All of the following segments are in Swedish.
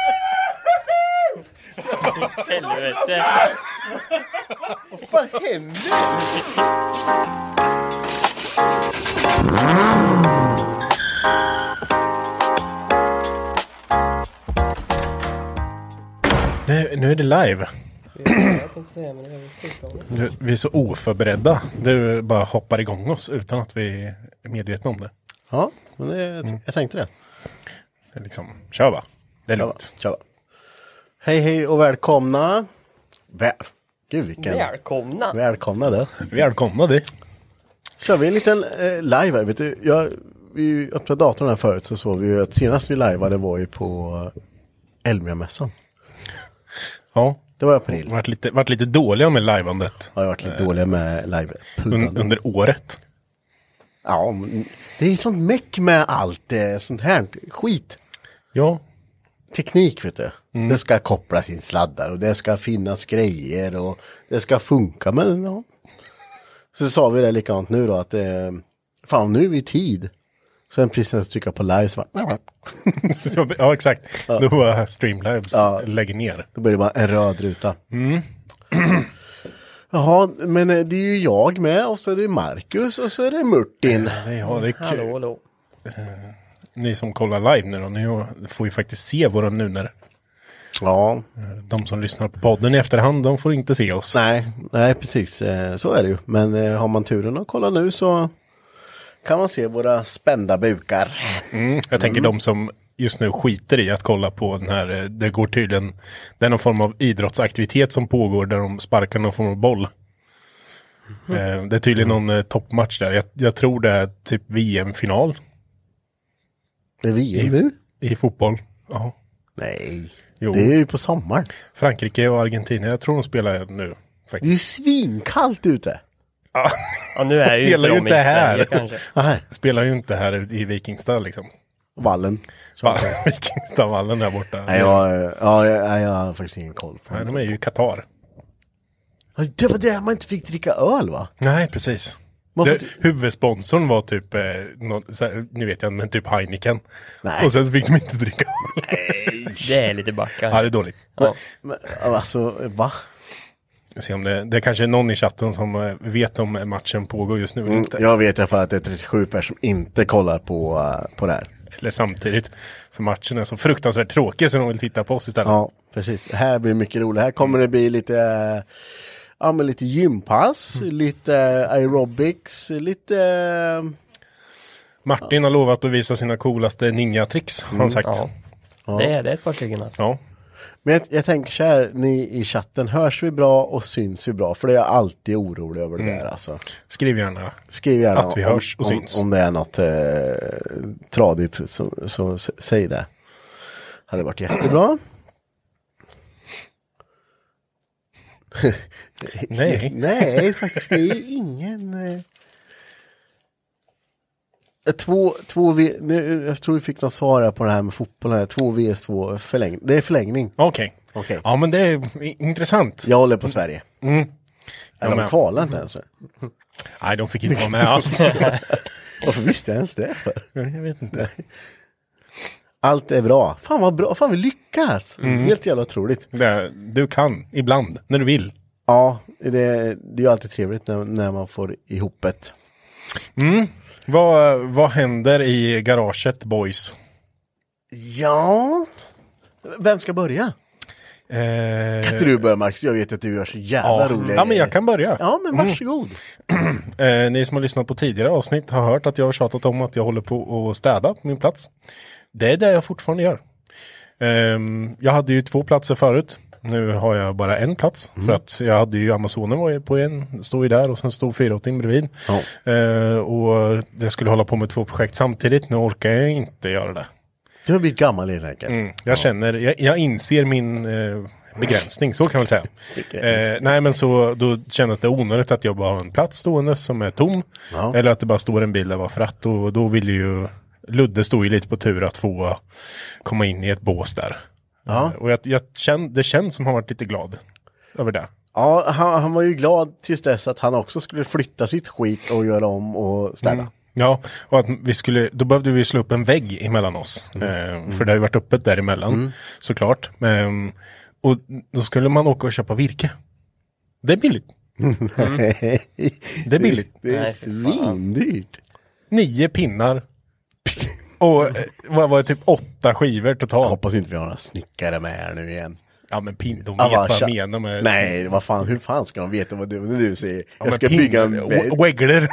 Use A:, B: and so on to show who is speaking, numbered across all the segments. A: Helvete.
B: Vad händer?
C: Nu, nu är det live.
D: Jag tänkte säga men det är väl flygplanet.
C: Nu, vi är så oförberedda. Du bara hoppar igång oss utan att vi är medvetna om det.
B: Ja, men det, jag tänkte det.
C: det är liksom, kör va. Det är
B: Tja,
C: lugnt.
B: tja. Hej hej och välkomna. Väl. Gud vilken.
D: Välkomna!
B: Välkomna det.
C: Välkomna du.
B: Kör vi en liten eh, live här. Vet du, jag, vi öppnade datorn här förut så såg vi ju att senast vi liveade var ju på Elmiamässan.
C: Ja.
B: Det var i april.
C: Vart lite, vart lite dåliga med lajvandet.
B: Har jag varit lite dålig med live
C: Eh, Un, under året.
B: Ja, men det är sånt meck med allt eh, sånt här skit.
C: Ja.
B: teknik vet du.
C: Mm.
B: Det ska kopplas in sladdar och det ska finnas grejer och det ska funka men ja. Så sa vi det likadant nu då att eh, fan nu är vi i tid. Sen precis när jag trycka på live så bara,
C: Så- ja exakt. Då var Streamlabs lägger ner.
B: då blir det bara en röd ruta.
C: Mm.
B: Jaha, men eh, det är ju jag med och så är det Marcus och så är det Murtin.
C: Nej, ja, det är kul. Eh,
D: Hallå, hallå.
C: Ni som kollar live nu då, ni får ju faktiskt se våra nuner.
B: Ja,
C: De som lyssnar på podden i efterhand, de får inte se oss.
B: nej, nej precis eh, så är det ju. Men eh, har man turen att kolla nu så kan man se våra spända bukar.
C: Jag tänker de som just nu skiter i att kolla på den här, eh, det går tydligen, det är någon form av idrottsaktivitet som pågår där de sparkar någon form av boll.
D: Mm-hmm.
C: Eh, Det är tydligen någon eh, toppmatch där, jag, jag tror det är typ VM-final
B: Det är vi nu.
C: i fotboll. Ja.
B: Nej,
C: Jo.
B: det är ju på sommaren.
C: Frankrike och Argentina, jag tror de spelar nu
B: Det är ju
C: faktiskt.
B: svinkallt ute.
D: Ja, nu är ju
C: spelar
D: inte de
C: ju
D: i
C: inte
D: Sverige
C: här.
D: kanske.
B: Nej,
C: Spelar ju inte här ute i Vikingstad liksom.
B: vallen.
C: Bara Vikingstadvallen där borta.
B: Nej, jag, ja, jag, jag, jag har faktiskt ingen koll på
C: Nej,
B: det.
C: de är ju i Qatar.
B: Det var det man inte fick dricka öl va?
C: Nej, precis.
B: Varför
C: Det, huvudsponsorn var typ, eh, någon, så här, nu vet jag inte, men typ Heineken.
B: Nej.
C: Och sen så fick de inte dricka.
D: Det är lite
C: ja,
D: backar.
C: det är dåligt.
D: Ja.
B: Men, alltså, va?
C: Jag ser om det, det är kanske är någon i chatten som eh, vet om matchen pågår just nu eller inte.
B: Mm, Jag vet i alla fall att det är 37 personer som inte kollar på, eh, på det här.
C: Eller samtidigt. För matchen är så fruktansvärt tråkig så de vill titta på oss istället.
B: Ja, precis. Det här blir mycket roligt. Här kommer det bli lite, eh, ja, men lite gympass, lite eh, aerobics, lite... eh,
C: Martin har lovat att visa sina coolaste ninja-tricks, har
B: Mm,
C: han sagt.
D: Ja.
C: Ja.
D: Det är det är ett par stycken alltså.
B: Men jag, jag tänker så här, ni i chatten, hörs vi bra och syns vi bra? För det är jag alltid orolig över det där alltså.
C: Skriv gärna.
B: Skriv gärna
C: Att vi
B: om,
C: hörs och
B: om,
C: syns.
B: om det är något eh, tradigt så, så s- säg det. Hade varit jättebra.
C: Nej.
B: Nej, faktiskt. Det är ingen... eh, Två, två v, nu, jag tror vi fick något svar här på det här med fotboll. Här. Två VS2 förlängning. Det är förlängning.
C: Okej.
B: Okej.
C: Ja, men det är i- intressant.
B: Jag håller på Sverige.
C: Mm. Jag
B: Eller de
C: med.
B: kvalar inte ens.
C: Nej, de fick inte vara med alls.
B: Varför visste jag ens det för?
C: jag vet inte.
B: Allt är bra. Fan vad bra. Fan vi lyckas.
C: Mm.
B: Helt jävla otroligt.
C: Det, du kan, ibland, när du vill.
B: Ja, det, det är ju alltid trevligt när, när man får ihop det.
C: Vad, vad händer i garaget, boys?
B: Ja. Vem ska börja?
C: Eh,
B: Kan inte du börja Max? Jag vet att du gör så jävla
C: ja.
B: roliga
C: ja, men jag
B: grejer.
C: kan Mm. börja.
B: Ja, men varsågod.
C: Eh, ni som har lyssnat på tidigare avsnitt har hört att jag har tjatat om att jag håller på att städa på min plats. Det är det jag fortfarande gör. Ehm, jag hade ju två platser förut. Nu har jag bara en plats. För att jag hade ju Amazonen var ju på en, stod ju där och sen stod 480 bredvid. Eh, och jag skulle hålla på med två projekt samtidigt. Nu orkar jag inte göra det.
B: Du har blivit gammal helt enkelt.
C: Mm. Jag känner, jag, jag inser min eh, begränsning, så kan man säga. eh, nej men så, då kändes det onödigt att jag bara har en plats stående som är tom.
B: Ja.
C: Eller att det bara står en bil där varför att, och då vill ju Ludde stod ju lite på tur att få komma in i ett bås där.
B: Ja.
C: Eh, Och jag, jag känn, det känns som han varit lite glad över det.
B: Ja, han, han var ju glad tills dess att han också skulle flytta sitt skit och göra om och städa.
C: Ja, och att vi skulle, då behövde vi slå upp en vägg emellan oss.
B: Mm.
C: Eh, för det har ju varit öppet däremellan, såklart. Ehm, och då skulle man åka och köpa virke. Det är billigt. Mm. Det är billigt.
B: Det är
D: Nej, fy fan.
B: svindyrt.
C: Nio pinnar. Och eh, vad var det, typ åtta skivor
B: Jag
C: totalt.
B: hoppas inte vi har några snickare med här nu igen.
C: Ja men pin, de vet
B: Alla
C: vad jag
B: tja-
C: menar med...
B: Nej, vad fan, hur fan ska de veta vad du, när du säger
C: Ja,
B: jag
C: men
B: ska
C: pin-
B: bygga en
C: w-
B: vägg.
C: Waggler.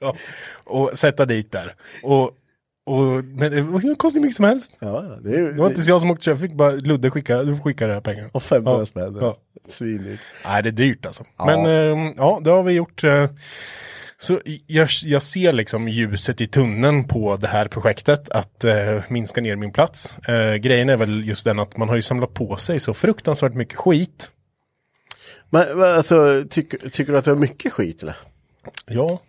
C: ja, och sätta dit där. Och, och men det var- det kostade hur mycket som helst.
B: Ja, ja, det, är-
C: Det var inte så jag som åkte köp, fick bara Ludde skicka, du får skicka det här pengarna.
B: Och 500
C: Ja,
B: spänn.
C: Ja.
B: Svindyrt.
C: Nej, det är dyrt alltså. Men ehm, ja, det har vi gjort. eh, så i- jag, jag ser liksom ljuset i tunneln på det här projektet att eh, minska ner min plats. Eh, grejen är väl just den att man har ju samlat på sig så fruktansvärt mycket skit.
B: Men men alltså, tyck, tycker du att du har mycket skit eller?
C: Ja.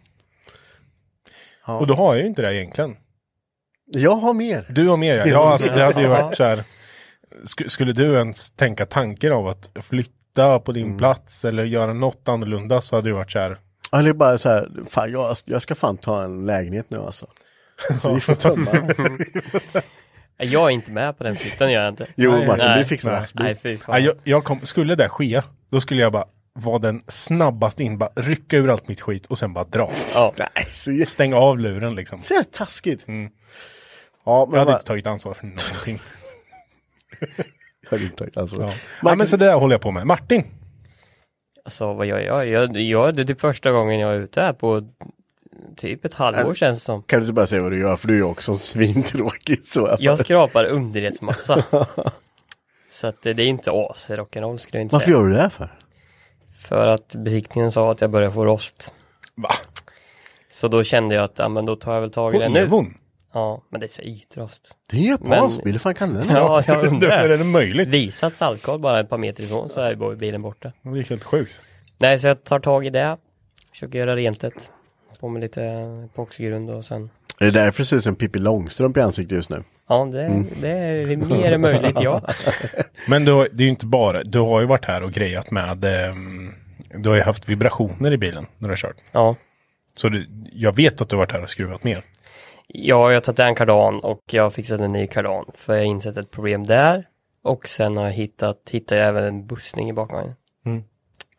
C: Och då har jag ju inte det egentligen.
B: Jag har mer.
C: Du har mer ja. ja alltså, det hade ju varit så här. Sk- skulle du ens tänka tanken av att flytta på din plats eller göra något annorlunda så hade det varit så här.
B: Eller bara så här, fan, jag, jag ska fan ta en lägenhet nu alltså. Så vi får tömma. den.
D: Jag är inte med på den flytten, gör jag inte.
B: jo,
D: Nej,
B: Martin,
D: nej.
B: du fixar
C: Nej.
B: det.
D: Nej, fy fan.
C: Ja, jag, jag kom, skulle det ske, då skulle jag bara vara den snabbast in, bara rycka ur allt mitt skit och sen bara dra.
D: Ja.
B: Nej, så jävla
C: Stänga av luren liksom.
B: så jävla taskigt.
C: Mm.
B: Ja, men
C: Jag hade
B: vad-
C: inte tagit ansvar för någonting.
B: jag hade inte tagit ansvar.
C: Ja. Ja,
B: Martin-
C: men så det där håller jag på med. Martin,
D: Alltså vad gör jag? jag, jag det är typ första gången jag är ute här på typ ett halvår känns det som.
B: Kan du inte bara säga vad du gör, för du är ju också svintråkig. Så jag
D: Jag skrapar underredsmassa. Så att det, det är inte as rock'n'roll skulle jag inte
B: Varför
D: säga.
B: gör du det här för?
D: För att besiktningen sa att jag börjar få rost.
C: va?
D: Så då kände jag att, ja men då tar jag väl tag i
C: På
D: det nu.
C: Evon?
D: Ja, men det är så ytrost.
B: Det är en japansk bil, hur fan kan den vara?
D: Ja, jag
C: Hur är
D: undrar.
C: det möjligt?
D: Visat saltkoll bara ett par meter ifrån så är bara bilen borta.
C: Det är helt sjukt.
D: Nej, så jag tar tag i det. Försöker göra rent det. På med lite epoxygrund och sen.
B: Är det därför det ser ut som Pippi Långstrump i ansiktet just nu?
D: Ja, det,
B: Mm.
D: det är mer än möjligt, ja.
C: Men du, har- det är ju inte bara, du har ju varit här och grejat med, ehm, du har ju haft vibrationer i bilen när du har kört.
D: Ja,
C: Så du, jag vet att du har varit här och skruvat ner.
D: ja jag har tagit en kardan och jag har fixat en ny kardan. För jag har insett ett problem där. Och sen har jag hittat, hittade jag även en bussning i bakvagnen.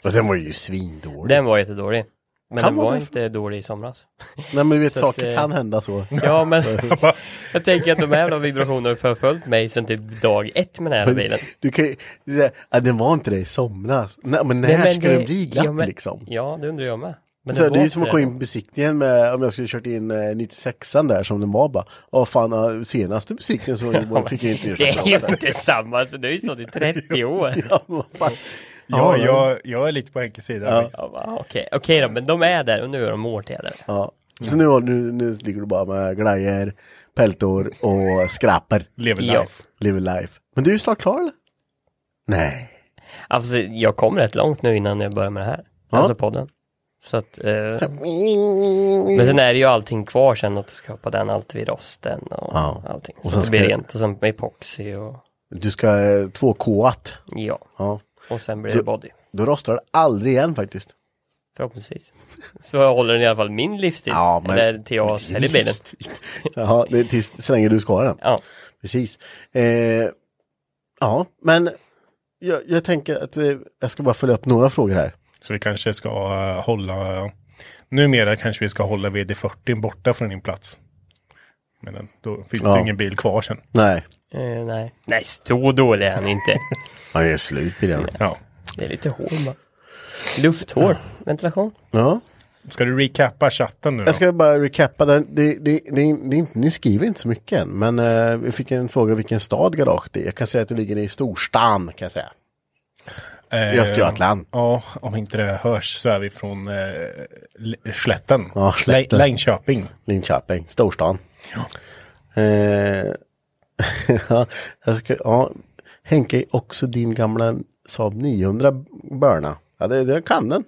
B: Ja, den var ju svindålig.
D: Den var jättedålig. Men
B: Kan
D: den
B: vara
D: var
B: det för-
D: inte dålig i somras.
B: Nej men du vet,
D: Så
B: saker
D: att, eh,
B: kan hända så.
D: Ja, men jag tänker att de här jävla vibrationerna har förföljt mig sedan typ dag ett med den här bilen.
B: Du kan ju säga, ja, den var inte det i somras. Nej, men när
D: Nej, men
B: ska
D: det-
B: den bli glatt
D: ja, men-
B: liksom?
D: Ja, det undrar jag med. Men
B: Så
D: den
B: det är
D: var
B: ju som att
D: inte
B: gå
D: det.
B: in på besiktningen med, om jag skulle kört in eh, 96an där som den var bara. Åh fan, ja, senaste besiktningen så var- fick jag inte
D: Det
B: ersätta.
D: är ju inte samma, så det har ju stått i 30 år.
B: Ja, men vad fan.
C: Ja,
B: ja.
C: jag, jag är lite på Henkes sida.
B: Ja.
C: faktiskt.
D: Ja, va, Okej, okej då, men de är där och nu är de årtider.
B: Ja. Så nu, har du, nu ligger du bara med glajer, peltor och skraper.
C: Lever
D: Ja.
C: life.
B: Live life. Men du är ju snart klar eller? Nej.
D: Alltså jag kom rätt långt nu innan jag började med det här.
B: Ja.
D: Alltså podden. Så att, eh, men sen är det ju allting kvar sen att skapa den, allt vid rosten och
B: Ja.
D: allting.
B: Och
D: Så
B: sen
D: att det blir
B: ska-
D: rent och sen med epoxy och
B: Du ska eh, 2K-at.
D: ja.
B: Ja.
D: Och sen blir
B: Så-
D: det body.
B: Då rostar det aldrig igen faktiskt.
D: Förhoppningsvis. Så håller den i alla fall min livstid.
B: Ja, men-
D: Eller till jag säljer bilen.
B: Jaha, det är tills, så länge du ska ha den.
D: Ja.
B: Precis. Eh, ja, men jag, jag tänker att eh, jag ska bara följa upp några frågor här.
C: Så vi kanske ska eh, hålla... numera kanske vi ska hålla VD40 borta från din plats. Men den- då finns
B: Ja.
C: det ingen bil kvar sen.
B: Nej.
D: Eh, nej. nej, så dålig är han inte.
B: Han är slut bilen.
C: Ja.
D: Det är lite hår bara. Lufthår, ventilation.
B: Ja.
C: Ska du recappa chatten nu då?
B: Jag ska bara recappa den. Det, det, det, det, är inte- ni skriver inte så mycket än, men eh, vi fick en fråga vilken stad garaget är. Jag kan säga att det ligger i storstan, kan jag säga.
C: Eh,
B: I Östergötland.
C: Ja, om inte det hörs så är vi från eh, L- Slätten.
B: Ja, Slätten.
C: Lä- Längköping.
B: Linköping, storstan. Eh, ja, jag ska, ja, Henke, också din gamla Saab 900 Börna. Ja, det, det kan den.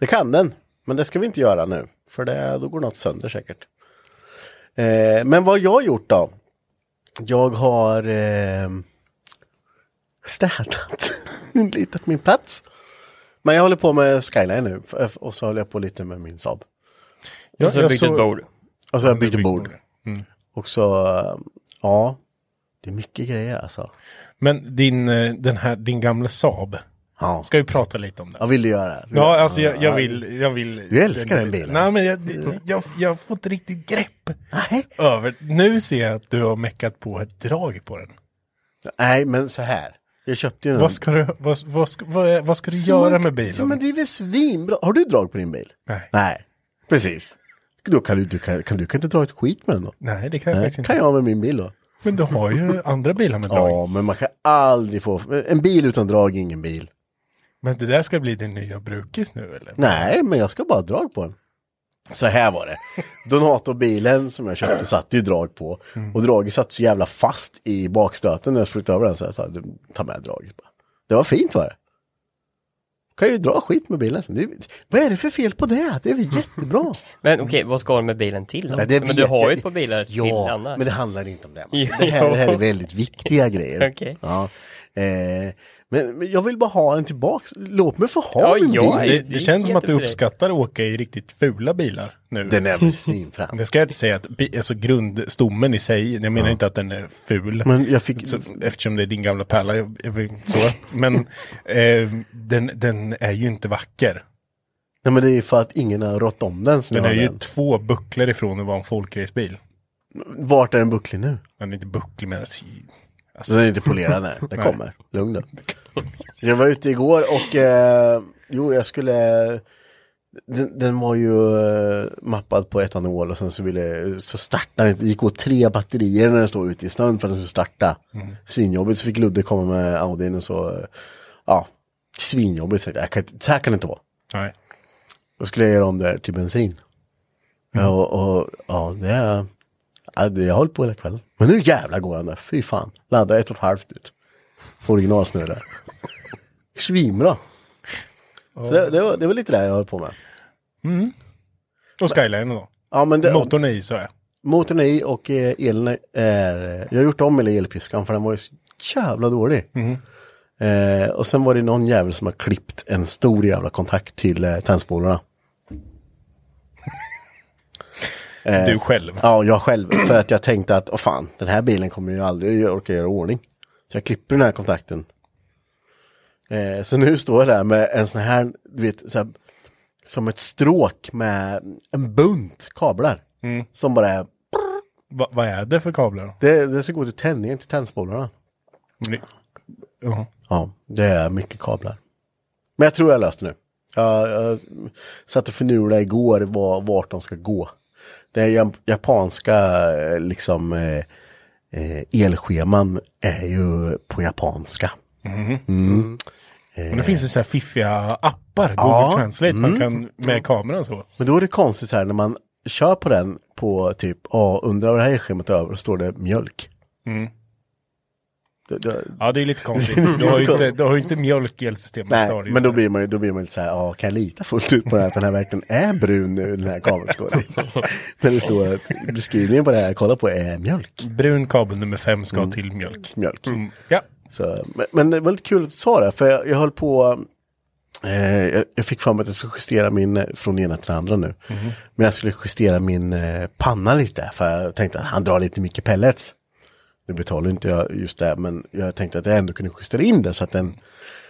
B: Det kan den, men det ska vi inte göra nu. För det, då går något sönder säkert. Eh, men vad har jag gjort då? Jag har eh, städat lite min plats. Men jag håller på med Skyline nu f- och så håller jag på lite med min Saab.
D: och så byggt ett bord.
B: Och så har jag bytt bord. Och så, eh, ja. Det är mycket grejer alltså.
C: Men din, eh, den här, din gamla Saab.
B: Ja.
C: Ska vi prata lite om den?
B: Jag vill du göra det?
C: Ja, alltså jag, jag vill... Jag vill
B: Du älskar den bilen.
C: Nej, men jag, jag, jag får inte riktigt grepp
B: Nej.
C: över... Nu ser jag att du har meckat på ett drag på
B: Mm.
C: den.
B: Nej, men så här. Jag köpte ju en...
C: Vad ska du, vad, vad ska, vad, är- vad ska du göra med bilen?
B: Men det är väl svinbra. Har du drag på din bil?
C: Nej.
B: Nej, precis. Då kan du, du, kan, kan, du kan inte dra ett skit med den då.
C: Nej, det kan jag
B: Nej,
C: faktiskt inte.
B: kan jag med min bil då.
C: Men du har ju andra bilar med drag.
B: Ja, men man kan aldrig få... En bil utan drag är ingen bil.
C: Men det där ska bli din nya brukis nu eller?
B: Nej, men jag ska bara ha drag på den. Så här var det. Donatorbilen som jag köpte satt ju drag på. Och draget satt så jävla fast i bakstöten när jag flyttade över den. Så jag sa, "Du, ta med draget bara. Det var fint var det. Kan ju dra skit med bilen. sen. Det, vad är det för fel på det? Det är väl jättebra.
D: Men okej, vad ska du med bilen till då?
B: Nej, det
D: men du
B: vet
D: har
B: jag
D: ju
B: inte.
D: ett par bilar till
B: Ja,
D: annars.
B: men det handlar inte om det. man.
D: Jo.
B: Det här, det här är väldigt viktiga grejer.
D: Okej.
B: Ja. Eh, men, men jag vill bara ha en tillbaks. Låt mig få ha
D: Ja,
B: min
D: ja,
B: bil.
D: Nej,
C: det,
D: det
C: det
D: är
C: känns som att du
D: jättebra.
C: uppskattar att åka i riktigt fula bilar nu.
B: Den är väl svinfrän.
C: Det ska jag inte säga att bi- alltså grundstommen i sig, jag menar inte att den är ful.
B: Men jag fick...
C: så, eftersom det är din gamla pärla. Jag, jag, vill- så. Men eh, den, den är ju inte vacker.
B: Nej men det är för att ingen har rått om den. Så
C: Den
B: nu
C: är
B: har
C: ju
B: den.
C: två bucklor ifrån att vara en folkracebil.
B: Vart är den bucklig nu?
C: Den är inte bucklig men alltså,
B: Så den är inte polerad, nej. Den kommer. Lugn nu. Jag var ute igår och eh, jo jag skulle den, den var ju eh, mappad på etanol och sen så ville så startade den, gick åt tre batterier när den stod ute i snön för att den skulle starta.
C: Mm.
B: Svinjobbigt så fick Ludde komma med Audin och så, eh, ja, svinjobbigt. Så, jag kan, inte- så här kan det inte vara.
C: nej.
B: Då skulle jag göra om det här till bensin. Ja, och, och ja, det är... ja, det- Jag höll på hela kvällen. Men nu jävlar går han där. Fy fan. Laddar ett och ett halvt ut. Originalsnurrar. Svinbra. Så det, det, var, det var lite det jag höll på med.
C: Och Skyline då.
B: Ja, men det,
C: Motorn är i så är.
B: motorn är i och eh, elen är... Jag har gjort om hela elpiskan för den var ju så jävla dålig.
C: Mhm.
B: Eh, och sen var det någon jävel som har klippt en stor jävla kontakt till eh, tändspolarna.
C: Du själv.
B: Eh, Ja, jag själv. För att jag tänkte att, åh fan, den här bilen kommer ju aldrig jag orka göra i ordning. Så jag klipper den här kontakten. Eh, så nu står jag där med en sån här, du vet, så här, som ett stråk med en bunt kablar.
C: Mm.
B: Som bara är,
C: Va, vad är det för kablar då?
B: det, det ska gå till tändningen till tändspolarna.
C: Det- Ja.
B: Ja, det är mycket kablar. Men jag tror jag löste nu. Jag, jag satt och förnulade igår var, vart de ska gå. Det är jap- japanska eh, liksom eh, eh, elscheman är ju på japanska.
C: Men det finns ju så här fiffiga appar, Google
B: Ja. Mm.
C: Translate, man kan med kameran så.
B: Men då är det konstigt så här när man kör på den på typ, ja undrar vad det här elschemat är över, och står det mjölk. Då- då-
C: Ja, det är lite konstigt. Du har ju inte, du har ju inte mjölk i elsystemet. det har du
B: Nej,
C: ju
B: men då
C: inte.
B: blir man ju, då blir man ju lite så här, ja, kan jag lita fullt ut på det här, att den här verkligen är brun nu, den här kabelskålen? När det står att beskrivningen på det här, kolla på, är mjölk.
C: Brun kabel nummer fem ska till mjölk.
B: mjölk.
C: Mm. Ja.
B: Så, men, men det var lite kul att du sa det, för jag, jag höll på... Eh, jag, jag fick för mig att jag skulle justera min, eh, från ena till den andra nu.
C: Mm-hmm.
B: Men jag skulle justera min eh, panna lite, för jag tänkte att han drar lite mycket pellets. Nu betalar inte jag just det, men jag tänkte att jag ändå kunde justera in det så att den...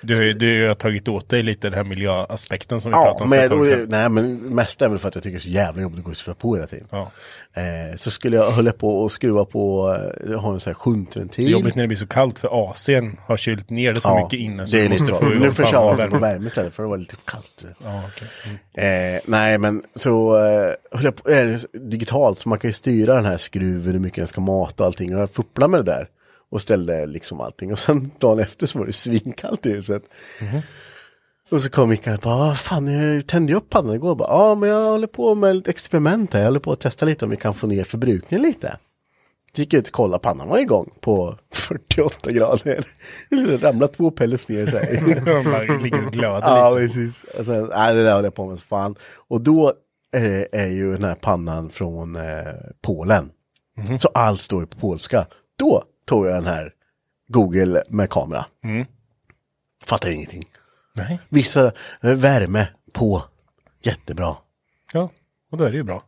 C: Du, har ju- du har tagit åt dig lite den här miljöaspekten som vi
B: Ja,
C: pratade om för
B: men,
C: ett tag
B: och,
C: sedan.
B: nej, men mest är väl för att jag tycker det är så jävla jobbigt att gå och skruva på hela tiden.
C: Ja.
B: Eh, så skulle jag hålla på och skruva på, eh, jag har en sån här shuntventil.
C: Det är jobbigt när det blir så kallt för AC'n har kylt ner det så mycket inne. Så
B: det är
C: du
B: lite
C: måste
B: så.
C: få igång
B: Nu försöker jag ha sig på
C: pannan.
B: värme istället för det var lite för kallt.
C: Ja, okej. Mm.
B: Eh, nej, men så eh, höll jag på, är det så- digitalt, så man kan ju styra den här skruven, hur mycket den ska mata och allting. Och jag fupplade med det där och ställde liksom allting. Och sen dagen efter så var det svinkallt i huset. Och så kom Mikael och bara, vad fan, jag tände ju upp pannan igår. Bara, Ja, men jag håller på med ett experiment här. Jag håller på att testa lite om vi kan få ner förbrukningen lite. Så gick jag ut och kollade, pannan var igång på 48 grader. Det ramlade två pellets ner så här.
C: De bara ligger och glöder
B: Ja,
C: lite.
B: precis. Och sen, nej, det där håller jag på med så fan. Och då eh, är ju den här pannan från eh, Polen. Så allt står ju på polska. Då tog jag den här Google med kamera. Fattar ingenting.
C: Nej,
B: Vissa eh, värme på. Jättebra.
C: ja. Och då är det ju bra.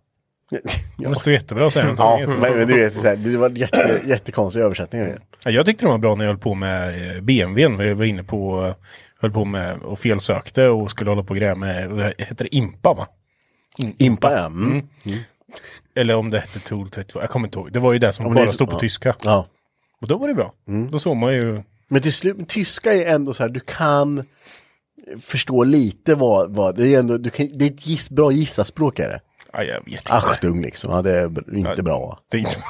B: ja,
C: De står jättebra säger
B: ja
C: de.
B: men, men du vet, så här, det var jätte, jättekonstiga översättningar. ju.
C: Ja, Jag tyckte de var bra när jag höll på med eh, BMWn. Vi var inne på, eh, höll på med och felsökte och skulle hålla på och greja med, det här- heter det IMPA va?
B: Impa, ja. Mm.
C: Eller om det hette Tool 32, jag kommer inte ihåg. Det var ju det som
B: men det
C: bara
B: är-
C: stod på
B: ja.
C: tyska.
B: ja.
C: Och då var det bra.
B: Mm.
C: Då såg man ju,
B: Men till slut, tyska är ändå så här, du kan förstå lite vad, vad det är ändå, du kan, det är ett giss, bra gissarspråk är det.
C: ja, jag vet inte.
B: Achtung liksom, ja, det är br- inte bra.
C: Det är inte...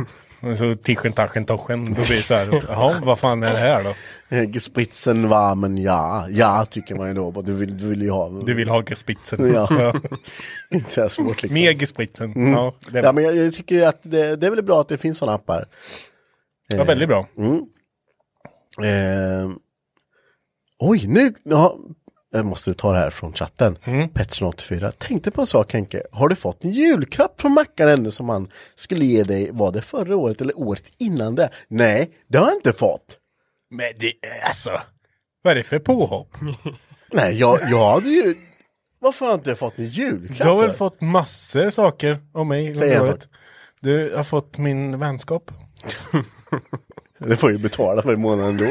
C: Men så tischen, taschen, toschen. Då blir det så här, jaha, vad fan är det här då?
B: Spritzen varmen, ja, ja tycker man ju då, bara, du vill, du vill ju ha.
C: Du vill ha gespitzen.
B: Ja. Inte så här svårt liksom.
C: Mer gespritzen. Ja, det
B: Ja,
C: var,
B: men jag, jag tycker att det, det är väl bra att det finns sådana appar.
C: var väldigt bra.
B: Mm. Eh, oj, nu ja, jag måste ta det här från chatten.
C: Mm.
B: Pettersson 84 tänkte på en sak Henke. Har du fått en julklapp från Mackan ännu som han skulle ge dig? Var det förra året eller året innan det? Nej, det har jag inte fått.
C: Men det, alltså, vad är det för påhopp?
B: Nej, jag, jag hade ju... Varför har jag inte fått en
C: Du
B: julklapp?
C: har väl
B: för?
C: fått massor saker om mig
B: Säg
C: under
B: en
C: året.
B: sak.
C: Du har fått min vänskap.
B: Det får jag ju betala för i månaden då.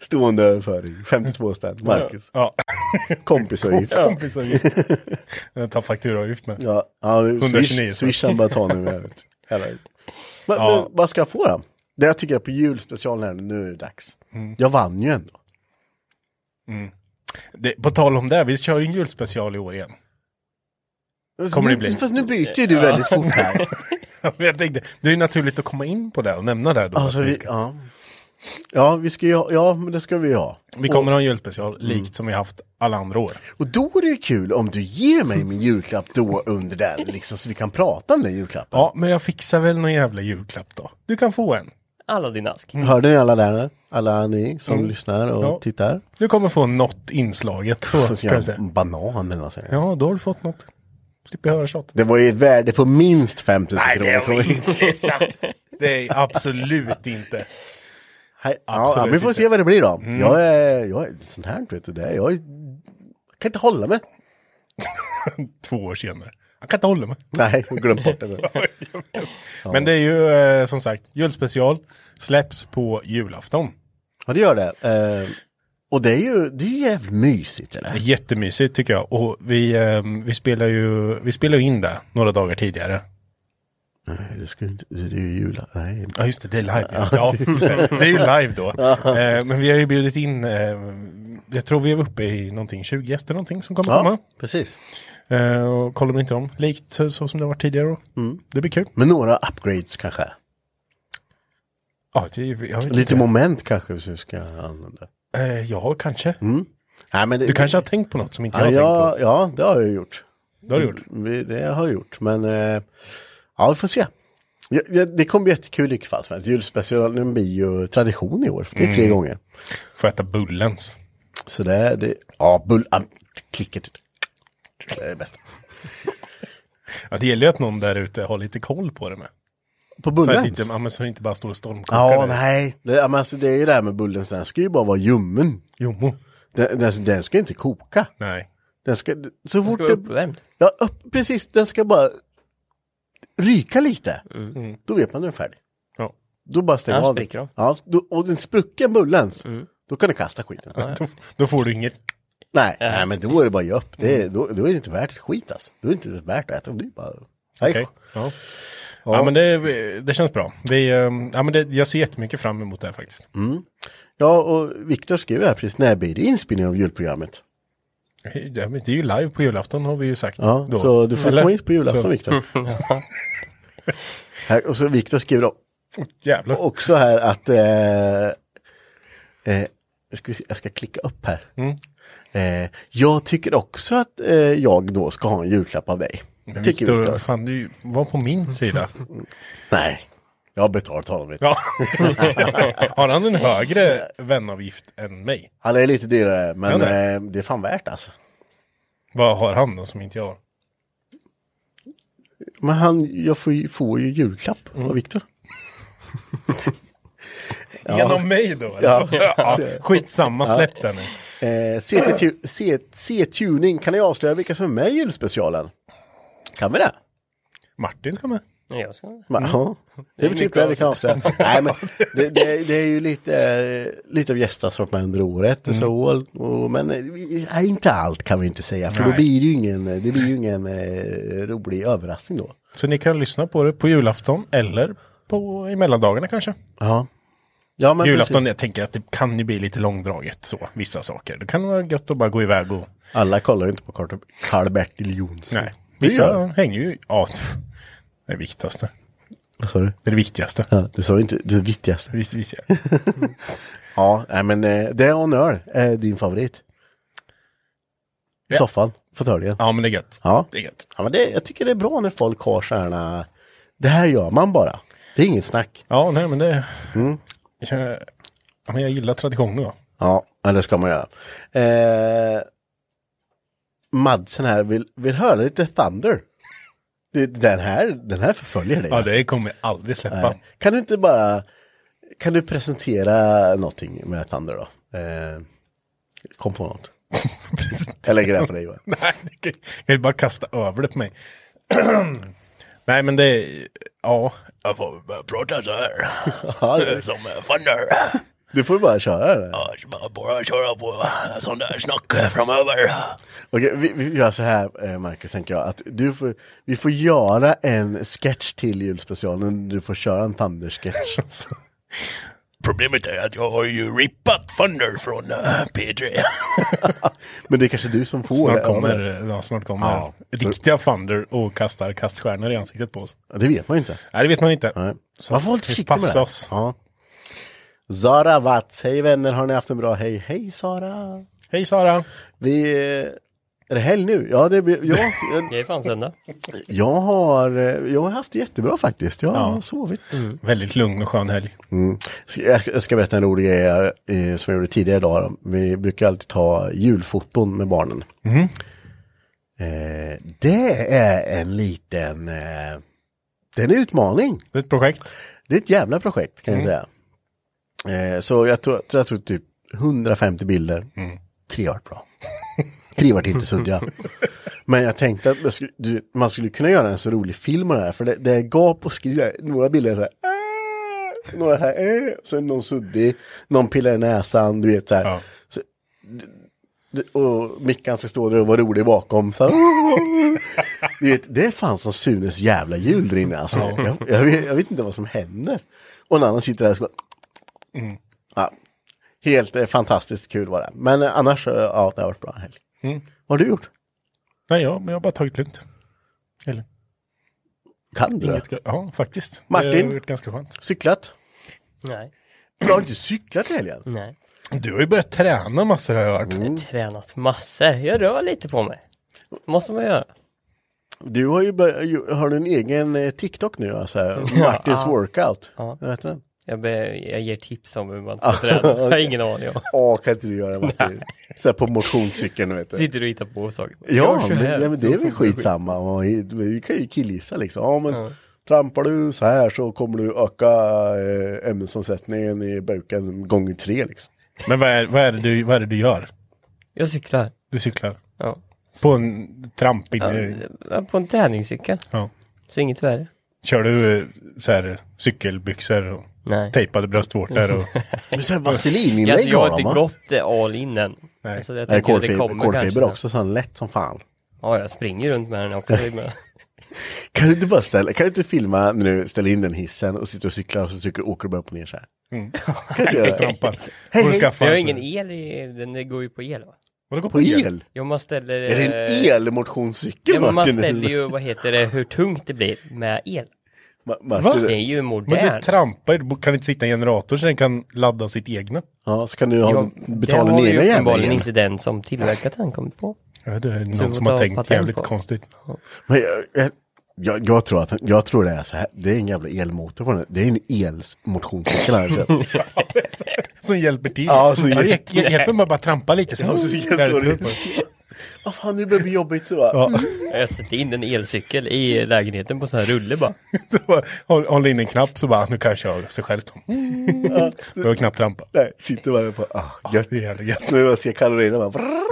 B: Stående överföring, 52 spänn. Marcus,
C: Ja,
B: kompisavgift.
C: kompisavgift. Jag tar fakturaavgift med.
B: Ja, ja
C: 129,
B: swish,
C: så.
B: swishan bara ta nu. jag vet. Jävlar. Men,
C: Ja.
B: men vad ska jag få då? Det jag tycker är på julspecialen här, nu är det dags.
C: Mm.
B: Jag vann ju ändå.
C: Det, på tal om det, vi kör ju en julspecial i år igen. Kommer
B: nu,
C: det bli?
B: Fast nu byter ju du väldigt fort här.
C: Men Jag tänkte, det är ju naturligt att komma in på det och nämna det då.
B: alltså,
C: att vi,
B: vi,
C: ska,
B: ja. ja, vi ska ju ha, ja, men det ska vi ju ha.
C: vi kommer ha en julspecial likt som vi haft alla andra år.
B: Och då är det ju kul om du ger mig min julklapp då under den, liksom, så vi kan prata om den julklappen.
C: Ja, men jag fixar väl någon jävla julklapp då. Du kan få en.
D: Aladdin-ask.
B: Hörde Mm. ni alla där? Alla ni som lyssnar och
C: Mm. Ja.
B: tittar.
C: Du kommer få något inslaget. Så
B: Får
C: kan jag säga.
B: en banan eller något sånt.
C: Ja, då har du fått något. Slipper höra tjat.
B: Det var ju ett värde på minst 5000 kronor. kommer-
C: inte sagt. Det är absolut inte.
B: Hej, ja,
C: Absolut
B: ja, vi får
C: inte. Mm.
B: se vad det blir då. Jag är, jag är sånt här vet du, det är, jag är, jag kan inte hålla mig.
C: Två år senare. Jag kan inte hålla mig.
B: Nej, jag har glömt bort det.
C: Men det är ju eh, som sagt, julspecial släpps på julafton.
B: Ja, det gör det. Eh, och det är ju, det är ju jävligt mysigt
C: Det är
B: eller?
C: Jättemysigt tycker jag. Och vi, eh, vi spelar ju vi spelar ju in det några dagar tidigare.
B: Nej, det ska ju inte, det är ju jul. Nej.
C: Ja just det, det är live. Ja, ja just det. det är ju live då. Eh, men vi har ju bjudit in, eh, jag tror vi är uppe i någonting, 20 gäster någonting som kommer komma.
B: Ja, precis.
C: Eh, och kollar man inte dem, likt så, så som det har varit tidigare då.
B: Mm.
C: Det blir kul.
B: Men några upgrades kanske.
C: Ja, det, jag vet
B: Lite
C: inte.
B: moment kanske som vi ska använda.
C: Eh, ja, kanske.
B: Nej, men det,
C: Du kanske har tänkt på något som inte jag
B: Mm. ja,
C: har tänkt
B: ja, ja, det har jag gjort.
C: på. Det har du gjort.
B: Vi, det har jag gjort, men eh, ja, vi får se. Ja, ja, det kommer bli jättekul i vilket fall som helst. Julspecialen blir ju tradition i år. Det är tre gånger.
C: Får äta bullens.
B: Så det är, det, ja, bull, ah, klicket. Det är det bästa.
C: Ja, det gäller ju att någon där ute har lite koll på det med.
B: På
C: Så att
B: bullens?
C: inte, ja, men så det inte bara står och stormkokar.
B: Ja,
C: där.
B: nej. Det, ja, men alltså, det är ju det här med bullens, den ska ju bara vara ljummen.
C: Jommo.
B: Den, den, den ska inte koka.
C: Nej.
B: Den ska, så fort
D: Ska vara
B: det,
D: uppvärmd.
B: ja, upp, precis, den ska bara ryka lite. Då vet man att den är färdig.
C: Mm. Ja.
B: Då bara stänger
D: Annars
B: man av
D: spricker de.
B: Ja, då, och den sprucken bullens, då kan du kasta skiten.
C: Då, då får du inget.
B: Nej, nej, men då är det bara ge upp. Det är, då, då är det inte värt ett skit alltså. Då är det inte värt att äta. Det är bara... Nej.
C: Okej. Ja. Ja. men det, det känns bra. Vi, ehm, ja, men det, jag ser jättemycket fram emot det här faktiskt.
B: Ja, och Viktor skrev här precis, när blir det inspelning av julprogrammet?
C: Det är ju live på julafton har vi ju sagt.
B: Ja,
C: då.
B: så du får
C: Eller?
B: komma hit på julafton
C: Så-
B: Viktor. Här, och så Viktor skriver då
C: Jävlar.
B: också här att... Eh, eh, ska vi se, jag ska klicka upp här. Eh, jag tycker också att eh, jag då ska ha en julklapp av dig.
C: Men
B: tycker
C: Viktor,
B: Mm. Viktor.
C: fan du var på min sida.
B: Nej, jag har betalt honom. vet du.
C: Ja. Har han en högre vänavgift än mig?
B: Han är lite dyrare, men
C: Ja, nej.
B: eh, det är fan värt alltså.
C: Vad har han då som inte jag har?
B: Men han, jag får ju, får ju julklapp av Viktor.
C: Genom mig då? Eller?
B: Ja.
C: Ja, skitsamma, släpp den nu.
B: Eh, CT-tu- C- C-tuning, kan ni avslöja vilka som är med i julspecialen? Kan vi det?
C: Martin ska med.
D: Nej, jag ska...
B: Va? Ja. Mm. Det är väl typ det vi kan avslöja. Nej, men det, det, det är ju lite, eh, lite av gästassortiment under året och så. Och, men eh, vi- nej, inte allt kan vi inte säga, för då
C: Nej.
B: blir det ju ingen, det blir ju ingen eh, rolig överraskning då.
C: Så ni kan lyssna på det på julafton eller på, i mellandagarna kanske.
B: Ja. Ja, men
C: julafton,
B: precis.
C: jag tänker att det kan ju bli lite långdraget så, vissa saker. Det kan vara gött att bara gå iväg och...
B: Alla kollar ju inte på Karl- Karl-Bertil Jonsson.
C: Nej,
B: Det gör
C: vissa
B: de.
C: hänger ju... Ja, pff, det är viktigaste.
B: Vad sa du?
C: Det är det viktigaste.
B: Ja, du sa ju inte det viktigaste.
C: Visst, visst, ja.
B: Ja, nej, men eh, det och en öl är eh, din favorit. I
C: Ja.
B: soffan, fåtöljen.
C: ja, men det är gött.
B: Ja.
C: Det är gött.
B: Ja, men det, jag tycker det är bra när folk har så här, na, det här gör man bara. Det är inget snack.
C: Ja, nej men det... Jag, ja, men jag gillar traditioner va.
B: Ja, men det ska man göra. Eh, Madsen här vill, vill höra lite Thunder. Det, den, här, den här förföljer dig.
C: Ja, det kommer jag aldrig släppa.
B: Nej. Kan du inte bara, kan du presentera någonting med Thunder då? Eh, kom på något. Jag lägger det här på dig Johan.
C: Nej, det kan- jag vill bara kasta över det på mig. Nej, men det är... Ja, jag får börja prata så här.
B: Ja, det-
C: Som eh, Thunder.
B: Du får bara köra det.
C: Ja, Jag ska bara- bara köra på sån där snack framöver.
B: Okej, vi, vi gör så här eh, Marcus, tänker jag. Att du får, vi får göra en sketch till julspecialen. Du får köra en Thunder-sketch.
C: Problemet är att jag har ju rippat Thunder från eh, P3.
B: Men det är kanske du som får
C: Snart
B: det.
C: kommer, ja, snart kommer
B: Ja.
C: riktiga Thunder och kastar kaststjärnor i ansiktet på oss.
B: Ja, Det vet man ju inte.
C: Nej, det vet man inte.
B: Nej.
C: Så
B: Man får vara
C: vi
B: lite försiktig med
C: passar
B: det.
C: oss.
B: Ja. Zara Watz, hej vänner, har ni haft en bra hej? Hej Sara!
C: Hej Sara!
B: Vi... eh, Är det helg nu? Ja, det blir... Ja, jag,
D: Det är fan söndag.
B: jag, har, eh, jag har haft det jättebra faktiskt. Jag har sovit.
C: Väldigt lugn och skön helg.
B: Ska- Jag jag ska berätta en rolig grej eh, som jag gjorde tidigare idag. då. Vi brukar alltid ta julfoton med barnen. Eh, det är en liten... Eh, det är en utmaning.
C: Det är ett projekt.
B: Det är ett jävla projekt kan jag säga. Eh, så jag tror, tror jag tog typ 150 bilder. Tre vart bra. Tre vart inte suddiga. Men jag tänkte att jag skulle, du, man skulle kunna göra en så rolig film av det här. För det, det är gap och skriv. Några bilder är så här. "Äh", Några så här. Äh, sen någon suddig. Någon pillar i näsan. Du vet så här.
C: Ja.
B: Så, d- d- och Mickan ska stå där och vara rolig bakom. Så här, du vet, det är fan som Sunes jävla jul där inne. Alltså. Jag, jag, vet, jag vet inte vad som händer. Och en annan sitter där och så bara... Mm. Ja, helt eh, fantastiskt kul var det. Men eh, annars, eh, ja, det har varit bra helg. Vad har du gjort?
C: Nej, ja, men jag har bara tagit lugnt. Eller?
B: Kan du det?
C: Inget, ja, faktiskt. Det
B: Martin?
C: har varit ganska skönt.
B: Cyklat?
D: Nej.
B: Du har inte cyklat i helgen?
D: Nej.
C: Du har ju börjat träna
B: Mm.
C: massor har jag hört.
D: Jag har tränat massor. Jag rör lite på mig. Måste man göra.
B: Du har ju bör- har du en egen eh, TikTok nu, alltså, här, Martins
D: Ja.
B: workout.
D: Ja.
B: Vad heter den?
D: Jag, be, jag ger tips om hur man
B: Ah,
D: ska träna. Jag har ingen aning. om.
B: Ja, kan inte du göra Martin? Så här på motionscykeln, vet du.
D: Sitter och hittar på saker.
B: Ja,
D: Gör så
B: men,
D: här,
B: ja, men det
D: så
B: är väl
D: får du
B: skitsamma. Och i- Vi kan ju killgissa liksom. Ja, men trampar du så här så kommer du öka eh, ämnesomsättningen i buken gånger tre liksom.
C: Men vad är, vad, är det du, vad är det du gör?
D: Jag cyklar.
C: Du cyklar?
D: Ja.
C: På en trampig...
D: Ja,
C: eh,
D: ja, På en tävlingscykel.
C: Ja.
D: Så inget värre.
C: Kör du eh, så här, cykelbyxor och
D: Nej.
C: tejpade bröstvårtor? Och,
B: Men så här vaselininlägg
D: Alltså, jag
B: har
D: har
B: de, va?
D: inte gått eh, all in än.
C: Nej.
D: Alltså, jag
B: Det är
D: tänker att det
B: kolfiber,
D: kommer
B: kolfiber
D: kanske.
B: också, så han lätt som fan.
D: Ja, jag springer runt med den också. ibland.
B: Kan du inte bara ställa, kan du inte filma när du ställer in den hissen och sitter och cyklar och så trycker, åker du bara upp och ner så här?
D: Mm.
B: Kan du inte göra det?
C: trampar.
B: Hej,
C: Och
B: hej.
C: skaffar
D: Men jag har
C: en sån-
D: ingen el i, den den går ju på el va?
C: Vadå, går
B: På el?
D: Jo, man ställer...
B: Är det en
D: eh,
B: elmotionscykel
D: Ja, men man
B: Martin?
D: ställer ju, vad heter det, hur tungt det blir med el.
B: Ma-
C: Va?
B: Martin,
D: Det är ju
C: Men du
D: modern.
C: trampar ju, du kan inte sitta i en generator så den kan ladda sitt egna.
B: Ja, så kan du ha,
D: Jag, det
B: betala den
D: har
B: egna
D: ju
B: jävla
D: uppenbarligen
B: elen.
D: inte den som tillverkat den kommit på.
C: Ja, det är
D: Så
C: någon
D: vi
C: som
D: får ta
C: har tänkt
D: patent
C: jävligt
D: på.
C: konstigt.
B: Men jag, jag, jag, jag, tror att, jag tror det är så här, det är en jävla elmotor på den. Det är en elmotionscykel här. alltså. så att-
C: Som hjälper till.
B: Ja, som hjälper-
C: hjälper, hjälper mig bara trampa lite. Så,
B: Ja, så jag
C: Där
B: står
C: det
B: Alltså, det. Vad fan, nu börjar det bli jobbigt så. va?
C: Ja.
D: Jag sätter in en elcykel i lägenheten på sån här rulle bara.
C: Så bara håll- Håller in en knapp så bara, nu kan jag köra sig själv. då. Behöver knappt trampa.
B: Nej, sitter bara på, ah, gött.
C: Det är jävligt gött.
B: Så nu jag ser kalorierna bara. brrr.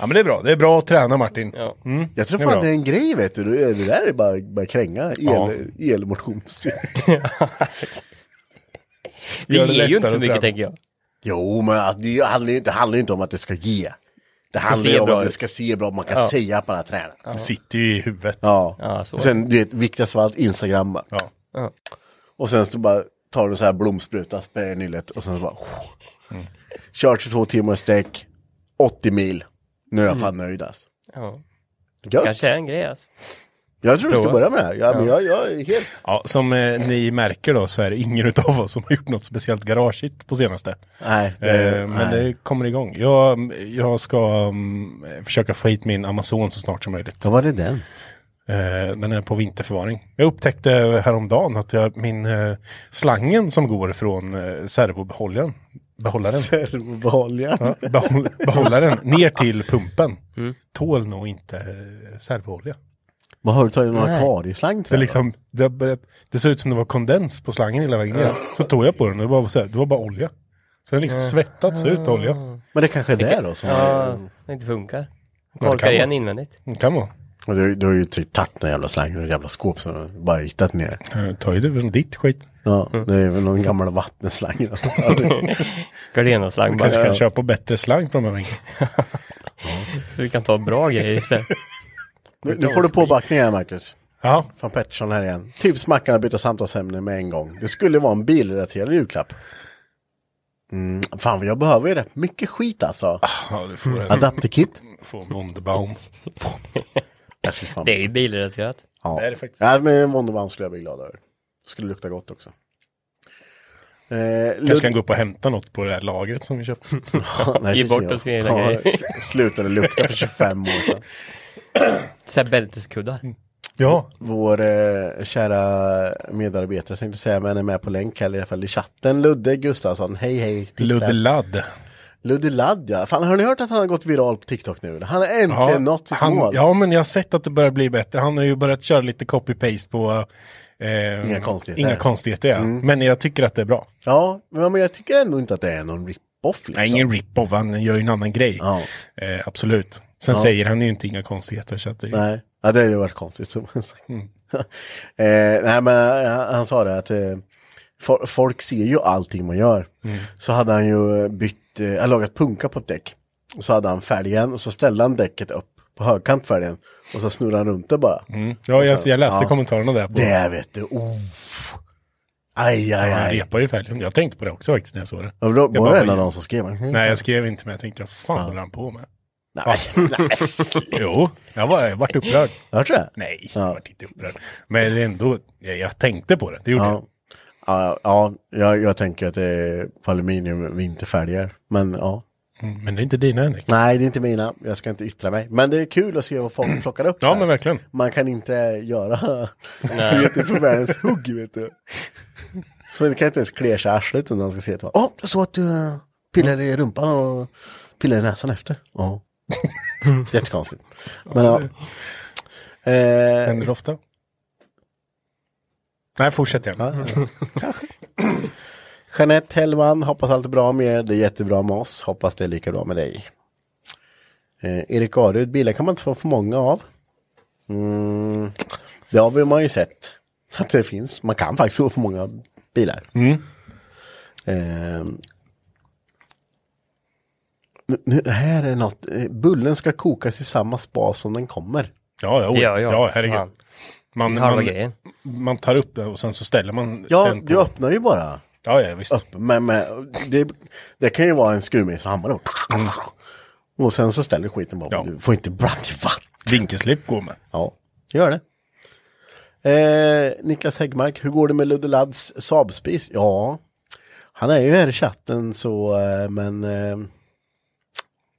C: Ja men det är bra, det är bra att träna Martin.
D: Ja.
B: Jag tror
C: Det är
B: fan
C: bra.
B: det är en grej vet du. Det där är bara, bara kränga. El,
C: Ja.
B: Elmotionscykel.
D: Det
C: Gör det
D: ger ju inte
C: lättare
D: så
C: att
D: mycket
C: träna.
D: tänker jag.
B: Jo, men alltså, det handlar ju inte, det handlar ju inte om att det ska ge. Det handlar
D: se
B: ju om
D: bra
B: att det
D: ut.
B: ska se bra Man kan säga att man har tränat. Ja.
C: Det sitter ju i huvudet.
D: Ja, så är
B: Sen, du vet, Viktor Svalt, Instagram. bara.
C: Ja.
D: Ja.
B: Och sen så bara tar du så här blomspruta, sprayar nyllet och sen så bara...
C: Mm.
B: Kör 22 timmar i sträck, 80 mil. Nu är jag fan nöjd alltså.
D: Ja.
B: Gött.
D: Kanske är en grej alltså.
B: Jag tror du ska
D: Prova.
B: börja med det här. Ja, Men jag, jag är helt...
C: Ja, som eh, ni märker då så är det ingen utav oss som har gjort något speciellt garageigt på senaste.
B: Nej,
C: Eh, men
B: nej.
C: det kommer igång. Jag, jag ska mm, försöka få hit min Amazon så snart som möjligt.
B: Då var det den.
C: Eh, den är på vinterförvaring. Jag upptäckte häromdagen att jag, min eh, slangen som går från eh, servobehållaren, behållaren,
B: Servobaljan.
C: ja, behåll, behållaren ner till pumpen tål nog inte eh, servoolja.
B: Vad har du tagit någon
C: Nej.
B: akvarieslang
C: Det,
B: till?
C: är liksom, det, har börjat, det såg ut som det var kondens på slangen hela vägen ner. Så tog jag på den och det var, så här, det var bara olja. Så den liksom svettats ut olja.
B: Men det kanske är det då som...
D: Ja, det inte funkar.
C: Ah. kan
D: Torkar igen
C: vara.
D: invändigt.
C: Det kan vara.
B: Och Du, du har ju typ tagit den jävla slangen ur ett jävla skåp som du bara hittat ner.
C: Eh, Ta ju det från ditt skit.
B: Ja, det är väl någon gammal vattenslang. eller något.
D: Gardena-slang bara.
C: Kanske kan köpa bättre slang från de här bänken.
D: Så vi kan ta bra grejer istället.
B: nu, nu får du påbackning här Marcus.
C: Ja,
B: Från Pettersson här igen. Tips mackarna byta samtalsämne med en gång. Det skulle vara en bilrelaterad julklapp. Mm, fan, jag behöver ju rätt mycket skit alltså.
C: ja du får en,
B: Adapterkit.
C: får en Wunderbaum.
B: Alltså, fan.
D: Det är ju bilrelaterat.
B: Ja.
C: Det är det faktiskt.
B: Nej, men Wonderbaum skulle jag bli glad över. Det skulle lukta gott också. Eh,
C: Kanske kan gå upp och hämta något på det här lagret som vi köpte.
B: Nej,
D: Ge
B: det finns
D: bort
B: inga.
D: oss egna grejer.
B: sl- Slutade lukta för 25 år sedan.
D: Så här bälteskuddar.
C: Mm. Ja,
B: Vår eh, kära medarbetare tänkte säga, men är med på länk här i alla fall i chatten. Ludde Gustafsson, hej hej. Titta.
C: Ludde Ladd.
B: Ludde Ladd ja. Fan, har ni hört att han har gått viral på TikTok nu? Han har äntligen nått sitt
C: han,
B: mål.
C: ja, men jag har sett att det börjar bli bättre. Han har ju börjat köra lite copy-paste på eh,
B: Inga konstigheter. Mm.
C: Inga konstigheter ja. Men jag tycker att det är bra.
B: Ja, men men jag tycker ändå inte att det är någon rip-off liksom.
C: Nej, ingen rip-off, han gör ju en annan grej.
B: Ja.
C: Eh, absolut. Sen säger han ju inte inga konstigheter. Så att det,
B: Nej, ja, det hade ju varit konstigt. som man sagt.
C: Mm.
B: eh, nej, men han, han sa det att eh, fo- folk ser ju allting man gör.
C: Mm.
B: Så hade han ju bytt, eh, han lagat punka på ett däck. Och så hade han fälgen och så ställde han däcket upp på högkant fälgen. Och så snurrade han runt det bara.
C: Mm. Ja, jag, jag läste
B: Alltså, ja.
C: kommentarerna där. På,
B: Det vet du, oh. Aj, aj,
C: han
B: aj.
C: repar ju färgen. Jag tänkte på det också faktiskt när jag såg det.
B: Ja, då,
C: Jag
B: var
C: bara,
B: det en av
C: vad-
B: dem som skrev? Nej,
C: Nej, jag skrev inte men jag tänkte, vad fan håller han på med?
B: nej, nej. sl-
C: Jo, jag, var, jag vart upprörd.
B: Hörde du det?
C: Nej,
B: Ja.
C: jag vart inte upprörd. Men det är ändå, jag, jag tänkte på det. Det gjorde jag.
B: Ja, ja, ja jag, jag tänker att det är på aluminium vinterfälgar. Men ja,
C: Mm, Men det är inte dina Henrik.
B: Nej, det är inte mina. Jag ska inte yttra mig. Men det är kul att se vad folk plockar upp. så
C: Ja
B: här.
C: men verkligen.
B: Man kan inte göra
D: Nej.
B: det på världens hugg, vet du. För det kan inte ens klia sig i arslet innan man ska se det. Åh, jag såg att du eh, pillade i rumpan och pillade i näsan efter. Ja. Jättekonstigt. Men ja. Eh,
C: Händer det ofta? Nej, fortsätt
B: Ja,
C: gärna.
B: ja. Kanske. Jeanette Hellman, hoppas allt är bra med er. Det är jättebra med oss. Hoppas det är lika bra med dig. Eh, Erik Arud, bilar kan man inte få för många av. Mm, det har man ju sett att det finns. Man kan faktiskt få för många bilar. Eh, nu- nu, här är något. Eh, Bullen ska kokas i samma spa som den kommer.
C: Ja, ja,
D: Det gör jag.
C: ja herregud.
D: Fan,
C: Man,
D: halva
C: man,
D: grejen.
C: man tar upp det och sen så ställer man
B: Ja,
C: den på.
B: du öppnar ju bara.
C: Ja, ja, visst.
B: upp. Men, men det, det kan ju vara en skruvmejselhammare. Och sen så ställer skiten bara.
C: Ja.
B: Du får inte brand i vatten.
C: Vinkelslip går med.
B: Ja, gör det. Eh, Niklas Häggmark, hur går det med Ludde Ladds Saabspis? Ja, han är ju här i chatten så, eh, men... Eh,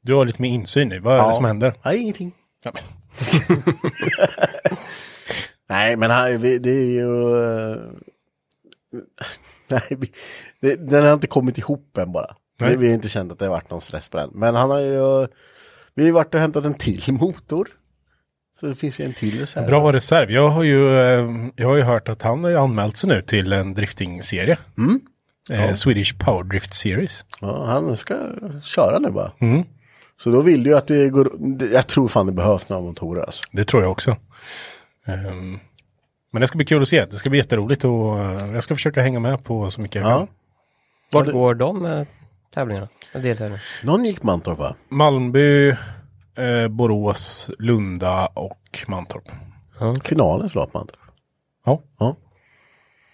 C: Du har lite mer insyn i vad är
B: ja.
C: det som händer.
B: Nej, ingenting.
C: Ja, men.
B: Nej, men han, vi, det är ju... eh, Nej, vi, det, den har inte kommit ihop än bara.
C: Nej.
B: Vi, vi har inte känt att det har varit någon stress på den. Men han har ju... Vi har ju varit och hämtat en till motor. Så det finns ju en till så här.
C: Bra reserv. Jag har, ju, eh, jag har ju hört att han har ju anmält sig nu till en driftingserie.
B: Mm.
C: Eh, Swedish Power Drift Series.
B: Ja, han ska köra nu bara.
C: Mm.
B: Så då vill du ju att det går... Jag tror fan det behövs några motorer alltså.
C: Det tror jag också. Ehm, men det ska bli kul att se. Det ska bli jätteroligt och eh, jag ska försöka hänga med på så mycket jag
B: Ja.
C: kan.
D: Vart går de eh, tävlingarna? Och Deltävlingarna?
B: Någon gick Mantorp va?
C: Malmö, eh, Borås, Lunda och Mantorp.
B: Finalen slår Mantorp.
C: Ja.
B: Ja.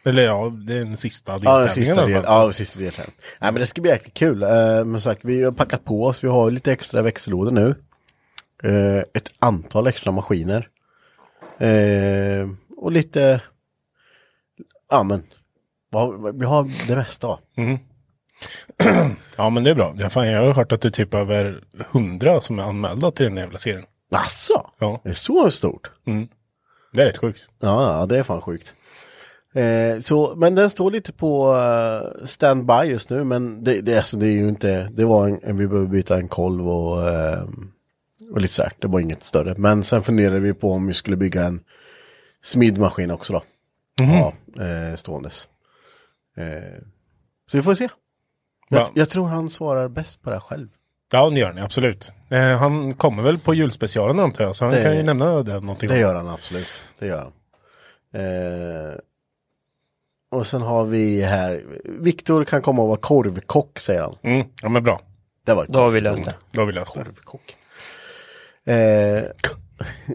C: Eller ja, det är den sista
B: Ja,
C: deltävlingen
B: den sista
C: i alla
B: delen.
C: fall, så.
B: Ja, den sista delen. Nej, men det ska bli jäkligt kul. Eh, Men som sagt, vi har packat på oss. Vi har lite extra växellådor nu. Eh, Ett antal extra maskiner. Eh, Och lite... Ja, men... vad- Vi har det mesta.
C: Ja, men det är bra. Jag, fan, jag har hört att det är typ över hundra som är anmälda till den jävla serien.
B: Alltså,
C: Ja.
B: Det är så stort?
C: Det är rätt sjukt.
B: Ja, ja, det är fan sjukt. Eh, så, men den står lite på eh, standby just nu, men det, det, alltså, det är ju inte, det var en, en vi behöver byta en kolv och, eh, och lite sådär, det var inget större. Men sen funderade vi på om vi skulle bygga en smidmaskin också då. Ja, eh, ståendes. Eh, så vi får se. Jag,
C: Ja.
B: jag tror han svarar bäst på det här själv.
C: Ja, det gör ni absolut. Eh, han kommer väl på julspecialen antar jag, så han
B: Det-
C: kan ju nämna det någonting.
B: Det gör han absolut. Det gör han. Eh, och sen har vi här, Viktor kan komma och vara korvkock säger han.
C: Mm. Ja, men bra.
B: Det var ett
D: Då har vi
B: konstigt
D: löst
B: ord.
D: det.
C: Då har vi löst det.
B: Korvkock. Eh,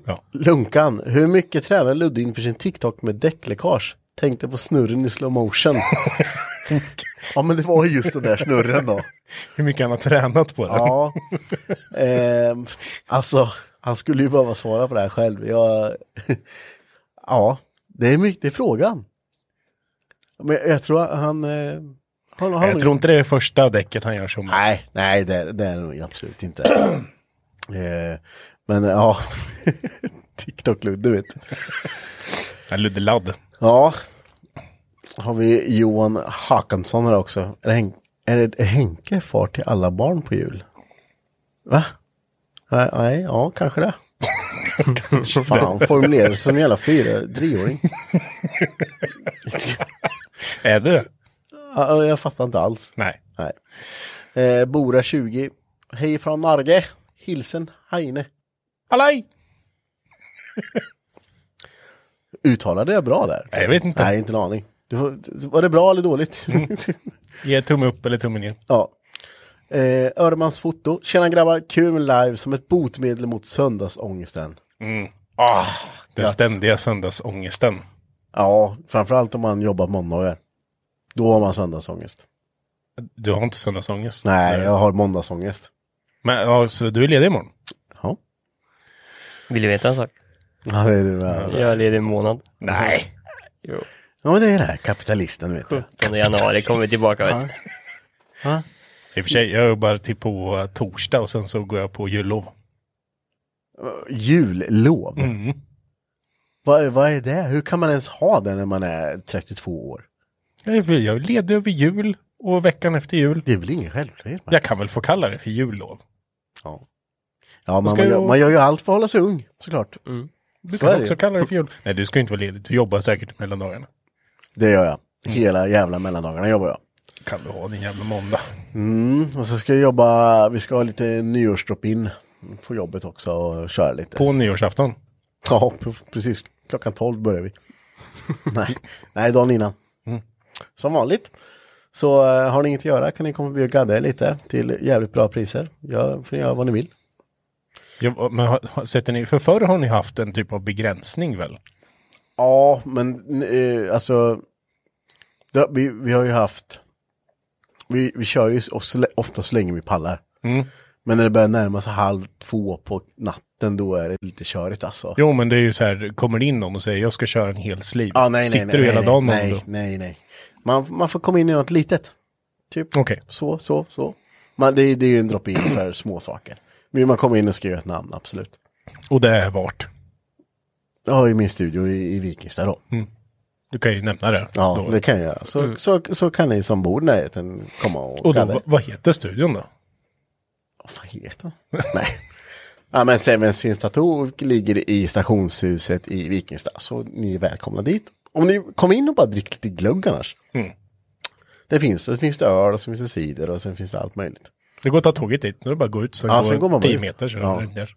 C: Ja.
B: Lunkan, hur mycket tränar Ludde inför sin TikTok med däckläckage? Tänkte på snurren i slow motion. ja men det var ju just den där snurren då.
C: Hur mycket han har tränat på det.
B: Ja. Ehm, alltså, han skulle ju behöva svara på det här själv. Jag... ja, det är mycket, det är frågan. Men jag, jag tror han... eh, han, han
C: Jag tror inte det är första däcket han gör som...
B: Nej, nej det, är- det är det nog absolut inte. eh, men ja, TikTok-Ludde vet du.
C: Ja, Ludde Ladd.
B: Ja. Har vi Johan Håkansson här också. Är, Hen- är, det, är Henke far till alla barn på jul? Va? Nej, nej ja kanske det. Fan, formulerar sig som en jävla fyra, treåring.
C: Är det det?
B: Ja, Jag fattar inte alls.
C: Nej.
B: Nej. Eh, Bora 20. Hej från Norge. Hilsen Heine.
C: Halloj!
B: Uttalade jag bra där?
C: Nej, jag vet inte.
B: Nej, inte en aning. Du, får- var det bra eller dåligt?
C: Mm. Ge tumme upp eller tumme ner.
B: Ja. Eh, Örmans foto. Tjena grabbar, kul med live som ett botemedel mot söndagsångesten.
C: Ah, den ständiga söndagsångesten.
B: Ja, framförallt om man jobbar måndagar. Då har man söndagsångest.
C: Du har inte söndagsångest?
B: Nej, jag har måndagsångest.
C: Men ja, så du är ledig imorgon?
B: Ja,
D: Vill du veta en sak?
B: ja det är det. där.
D: Jag är ledig en månad.
C: Nej.
B: Ja, men det är det här kapitalisten vet du.
D: 17 januari kommer vi tillbaka vet du.
C: I och för sig, jag jobbar till på torsdag och sen så går jag på jullov.
B: Jullov?
C: Mm.
B: Vad, vad är det? Hur kan man ens ha det när man är 32 år?
C: Jag är- jag är ledig över jul och veckan efter jul.
B: Det är väl ingen självklarhet? Marcus?
C: Jag kan väl få kalla det för jullov?
B: Ja, ja man,
C: ska
B: man,
C: ju- Mm.
B: gör, man gör ju allt för att hålla sig ung, såklart.
C: Du
B: är
C: kan
B: det
C: också
B: ju.
C: kalla det för jul. Nej, du ska ju inte vara ledig. Du jobbar säkert mellan dagarna.
B: Det gör jag.
C: Mm.
B: Hela jävla mellandagarna jobbar jag.
C: Kan du ha din jävla måndag.
B: Mm, och så ska jag jobba, vi ska ha lite nyårsdrop-in på jobbet också och köra lite.
C: På nyårsafton.
B: Ja, p- precis. Klockan 12 börjar vi. Nej. Nej, dagen innan. Som vanligt. Så eh, har ni inget att göra kan ni komma förbi och gadda er lite till jävligt bra priser. Ja, får ni göra vad ni vill.
C: Ja, men har- har- sätter ni, för förr har ni haft en typ av begränsning väl?
B: Ja, men eh, alltså. Det, vi, vi har ju haft. Vi, vi kör ju ofta, ofta så länge vi pallar.
C: Mm.
B: Men när det börjar närma sig halv två på natten då är det lite körigt alltså.
C: Jo, men det är ju så här, kommer det in någon och säger jag ska köra en hel sliv.
B: Ja, nej, nej,
C: Sitter
B: nej,
C: du
B: nej,
C: hela
B: nej,
C: dagen med
B: nej,
C: honom
B: nej, nej, Man, man får komma in i något litet. Typ.
C: då? Okej.
B: Så, så, så. Man, det, är- det är ju en drop-in för små saker. Vill man komma in och skriva ett namn, absolut.
C: Och det är vart?
B: Jag har ju min studio i, i Vikingstad då.
C: Du kan ju nämna det.
B: Ja,
C: Mm. då.
B: det kan jag göra. Så, så, så kan ni som bor i närheten komma och,
C: Och då,
B: kalla er.
C: vad- vad heter studion då?
B: Vad heter den? Nej. Ja, men Seven Sins Tattoo ligger i stationshuset i Vikingstad. Så ni är välkomna dit. Om ni kommer in och bara dricker lite glögg annars.
C: Mm.
B: Det finns, det finns det öl och så finns det cider och så finns det allt möjligt.
C: Det går att ta tåget dit. Nu är det bara att gå ut. Sen,
B: Ja,
C: går,
B: sen går man bara
C: 10
B: ut.
C: meter. Så
B: Ja.
C: är det er där.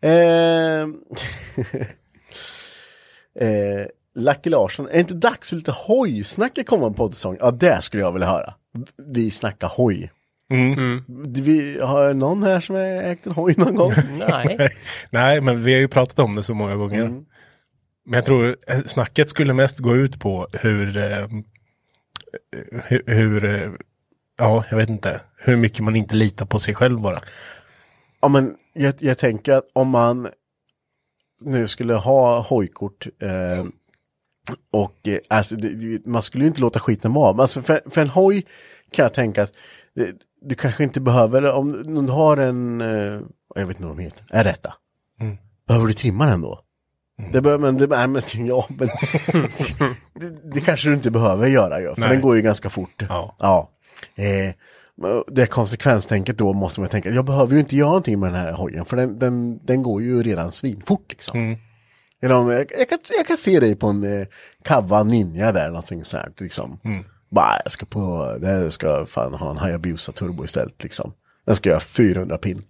B: Ehm, eh, Lucky Larsson, är det inte dags för lite hojsnack i kommande poddsäsong? Ja, det skulle jag vilja höra. Vi snackar hoj. Vi, har någon här som har ägt en hoj någon gång?
D: Nej.
C: Nej, men vi har ju pratat om det så många gånger. Men jag tror eh, snacket skulle mest gå ut på hur, eh, hur, hur eh, ja, jag vet inte, hur mycket man inte litar på sig själv bara.
B: ja, men jag, jag tänker att om man nu skulle ha hojkort eh, och eh, alltså, det- det, man skulle ju inte låta skiten vara. Men alltså, för, för en hoj kan jag tänka att eh, du kanske inte behöver, om, om du har en, eh, jag vet inte vad de heter, en rätta. Behöver du trimma den då?
C: Mm.
B: Det behöver, men, det, nej, men, ja, men, det, det kanske du inte behöver göra, ju, för
C: Nej.
B: den går ju ganska fort.
C: Ja.
B: Ja. Eh, det konsekvenstänket då måste man tänka, jag behöver ju inte göra någonting med den här hojen för den, den, den går ju redan svinfort liksom.
C: Mm.
B: Eller om, jag, jag, kan, jag kan se dig på en eh, Kawa Ninja där, någonting sånt här, liksom.
C: Mm.
B: Bara, jag ska på, det här ska jag fan ha en Hayabusa Turbo istället liksom. Den ska göra 400 pin.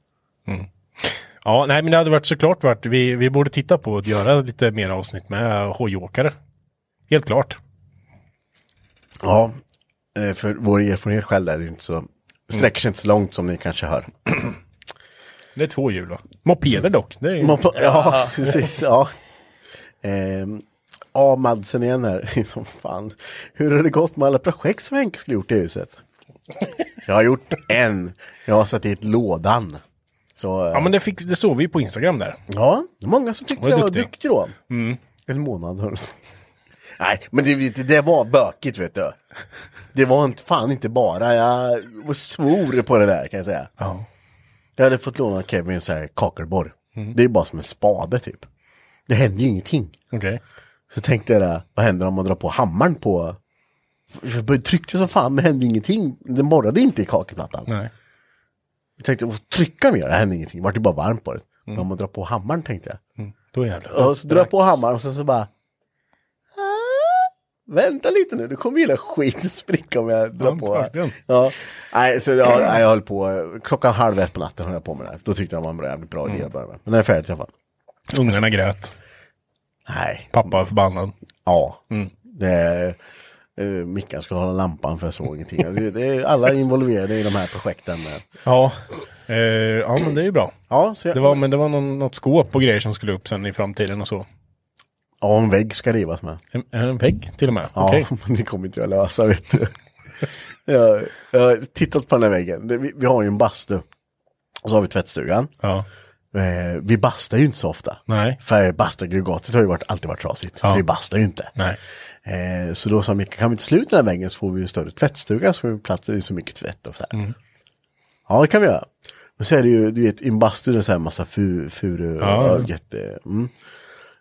C: Ja, nej, men det hade varit såklart varit, vi, vi borde titta på att göra lite mer avsnitt med hojåkare. Helt klart.
B: Ja, eh, för vår erfarenhet själv där är ju inte så, sträcker sig inte så långt som ni kanske hör.
C: Det är två hjul va? Mopeder dock. Det är,
B: Man får, ja, precis. Ja. Ehm, ja, Madsen igen här. Som Fan. Hur har det gått med alla projekt som Henke skulle gjort i huset? Jag har gjort en. Jag har satt dit lådan. Så, eh,
C: ja, men det, fick, det såg vi ju på Instagram där.
B: ja, det är många som tyckte
C: Var du
B: jag var
C: duktig?
B: duktig då. En månad. hörde jag. Nej, men det, det var bökigt vet du. Det var inte, fan inte bara, jag svor på det där kan jag säga.
C: Ja.
B: Jag hade fått låna Kevins så här kakelborr. Det är bara som en spade typ. Det händer ju ingenting.
C: Okej.
B: Så tänkte jag, det här, vad händer om man drar på hammaren på... Jag började- tryckte som fan, men hände ingenting. Det morrade inte i kakelplattan.
C: Nej.
B: Jag tänkte, "Åh, trycka mer, det hände ingenting. Det vart ju bara varmt på det. Men om man drar på hammaren tänkte jag.
C: Då jävlar.
B: Och så drar jag på hammaren och sen så bara... "Ah, Vänta lite nu, du kommer gilla skiten spricka om jag drar
C: Ja,
B: på.
C: verkligen.
B: här." Ja, nej, så jag, nej, jag höll på, klockan halv ett på natten höll jag på med det här. Då tyckte jag det var en bra- jävligt
C: Mm.
B: bra idé att börja med. Men det är färdigt i alla fall.
C: Ungarna grät.
B: Nej,
C: Pappa var förbannad.
B: ja.
C: Mm.
B: Det, uh, Mickan skulle hålla lampan för jag såg ingenting. Det, det, är alla involverade i de här projekten.
C: Ja. Eh, ja, men det är ju bra.
B: Ja, så jag,
C: Det var, men det var någon, något skåp och grejer som skulle upp sen i framtiden och så.
B: ja, en vägg ska rivas med.
C: En, en vägg till och med.
B: Ja,
C: Okej.
B: men det kommer inte jag lösa vet du. jag, jag har tittat på den här väggen. Det, vi, vi har ju en bastu. Och så har vi tvättstugan.
C: Ja.
B: Eh, vi bastar ju inte så ofta.
C: Nej.
B: För bastuaggregatet har ju varit, alltid varit trasigt.
C: Ja.
B: Så vi bastar ju inte.
C: Nej.
B: Eh, så då sa Micke, kan vi inte sluta den här väggen så får vi en större tvättstuga så får vi plats i så mycket tvätt och så här.
C: Mm.
B: Ja, det kan vi göra. Men så är det ju, du vet, i en bastu det är så här massa fu- furu
C: Ja.
B: och jätte... Mm.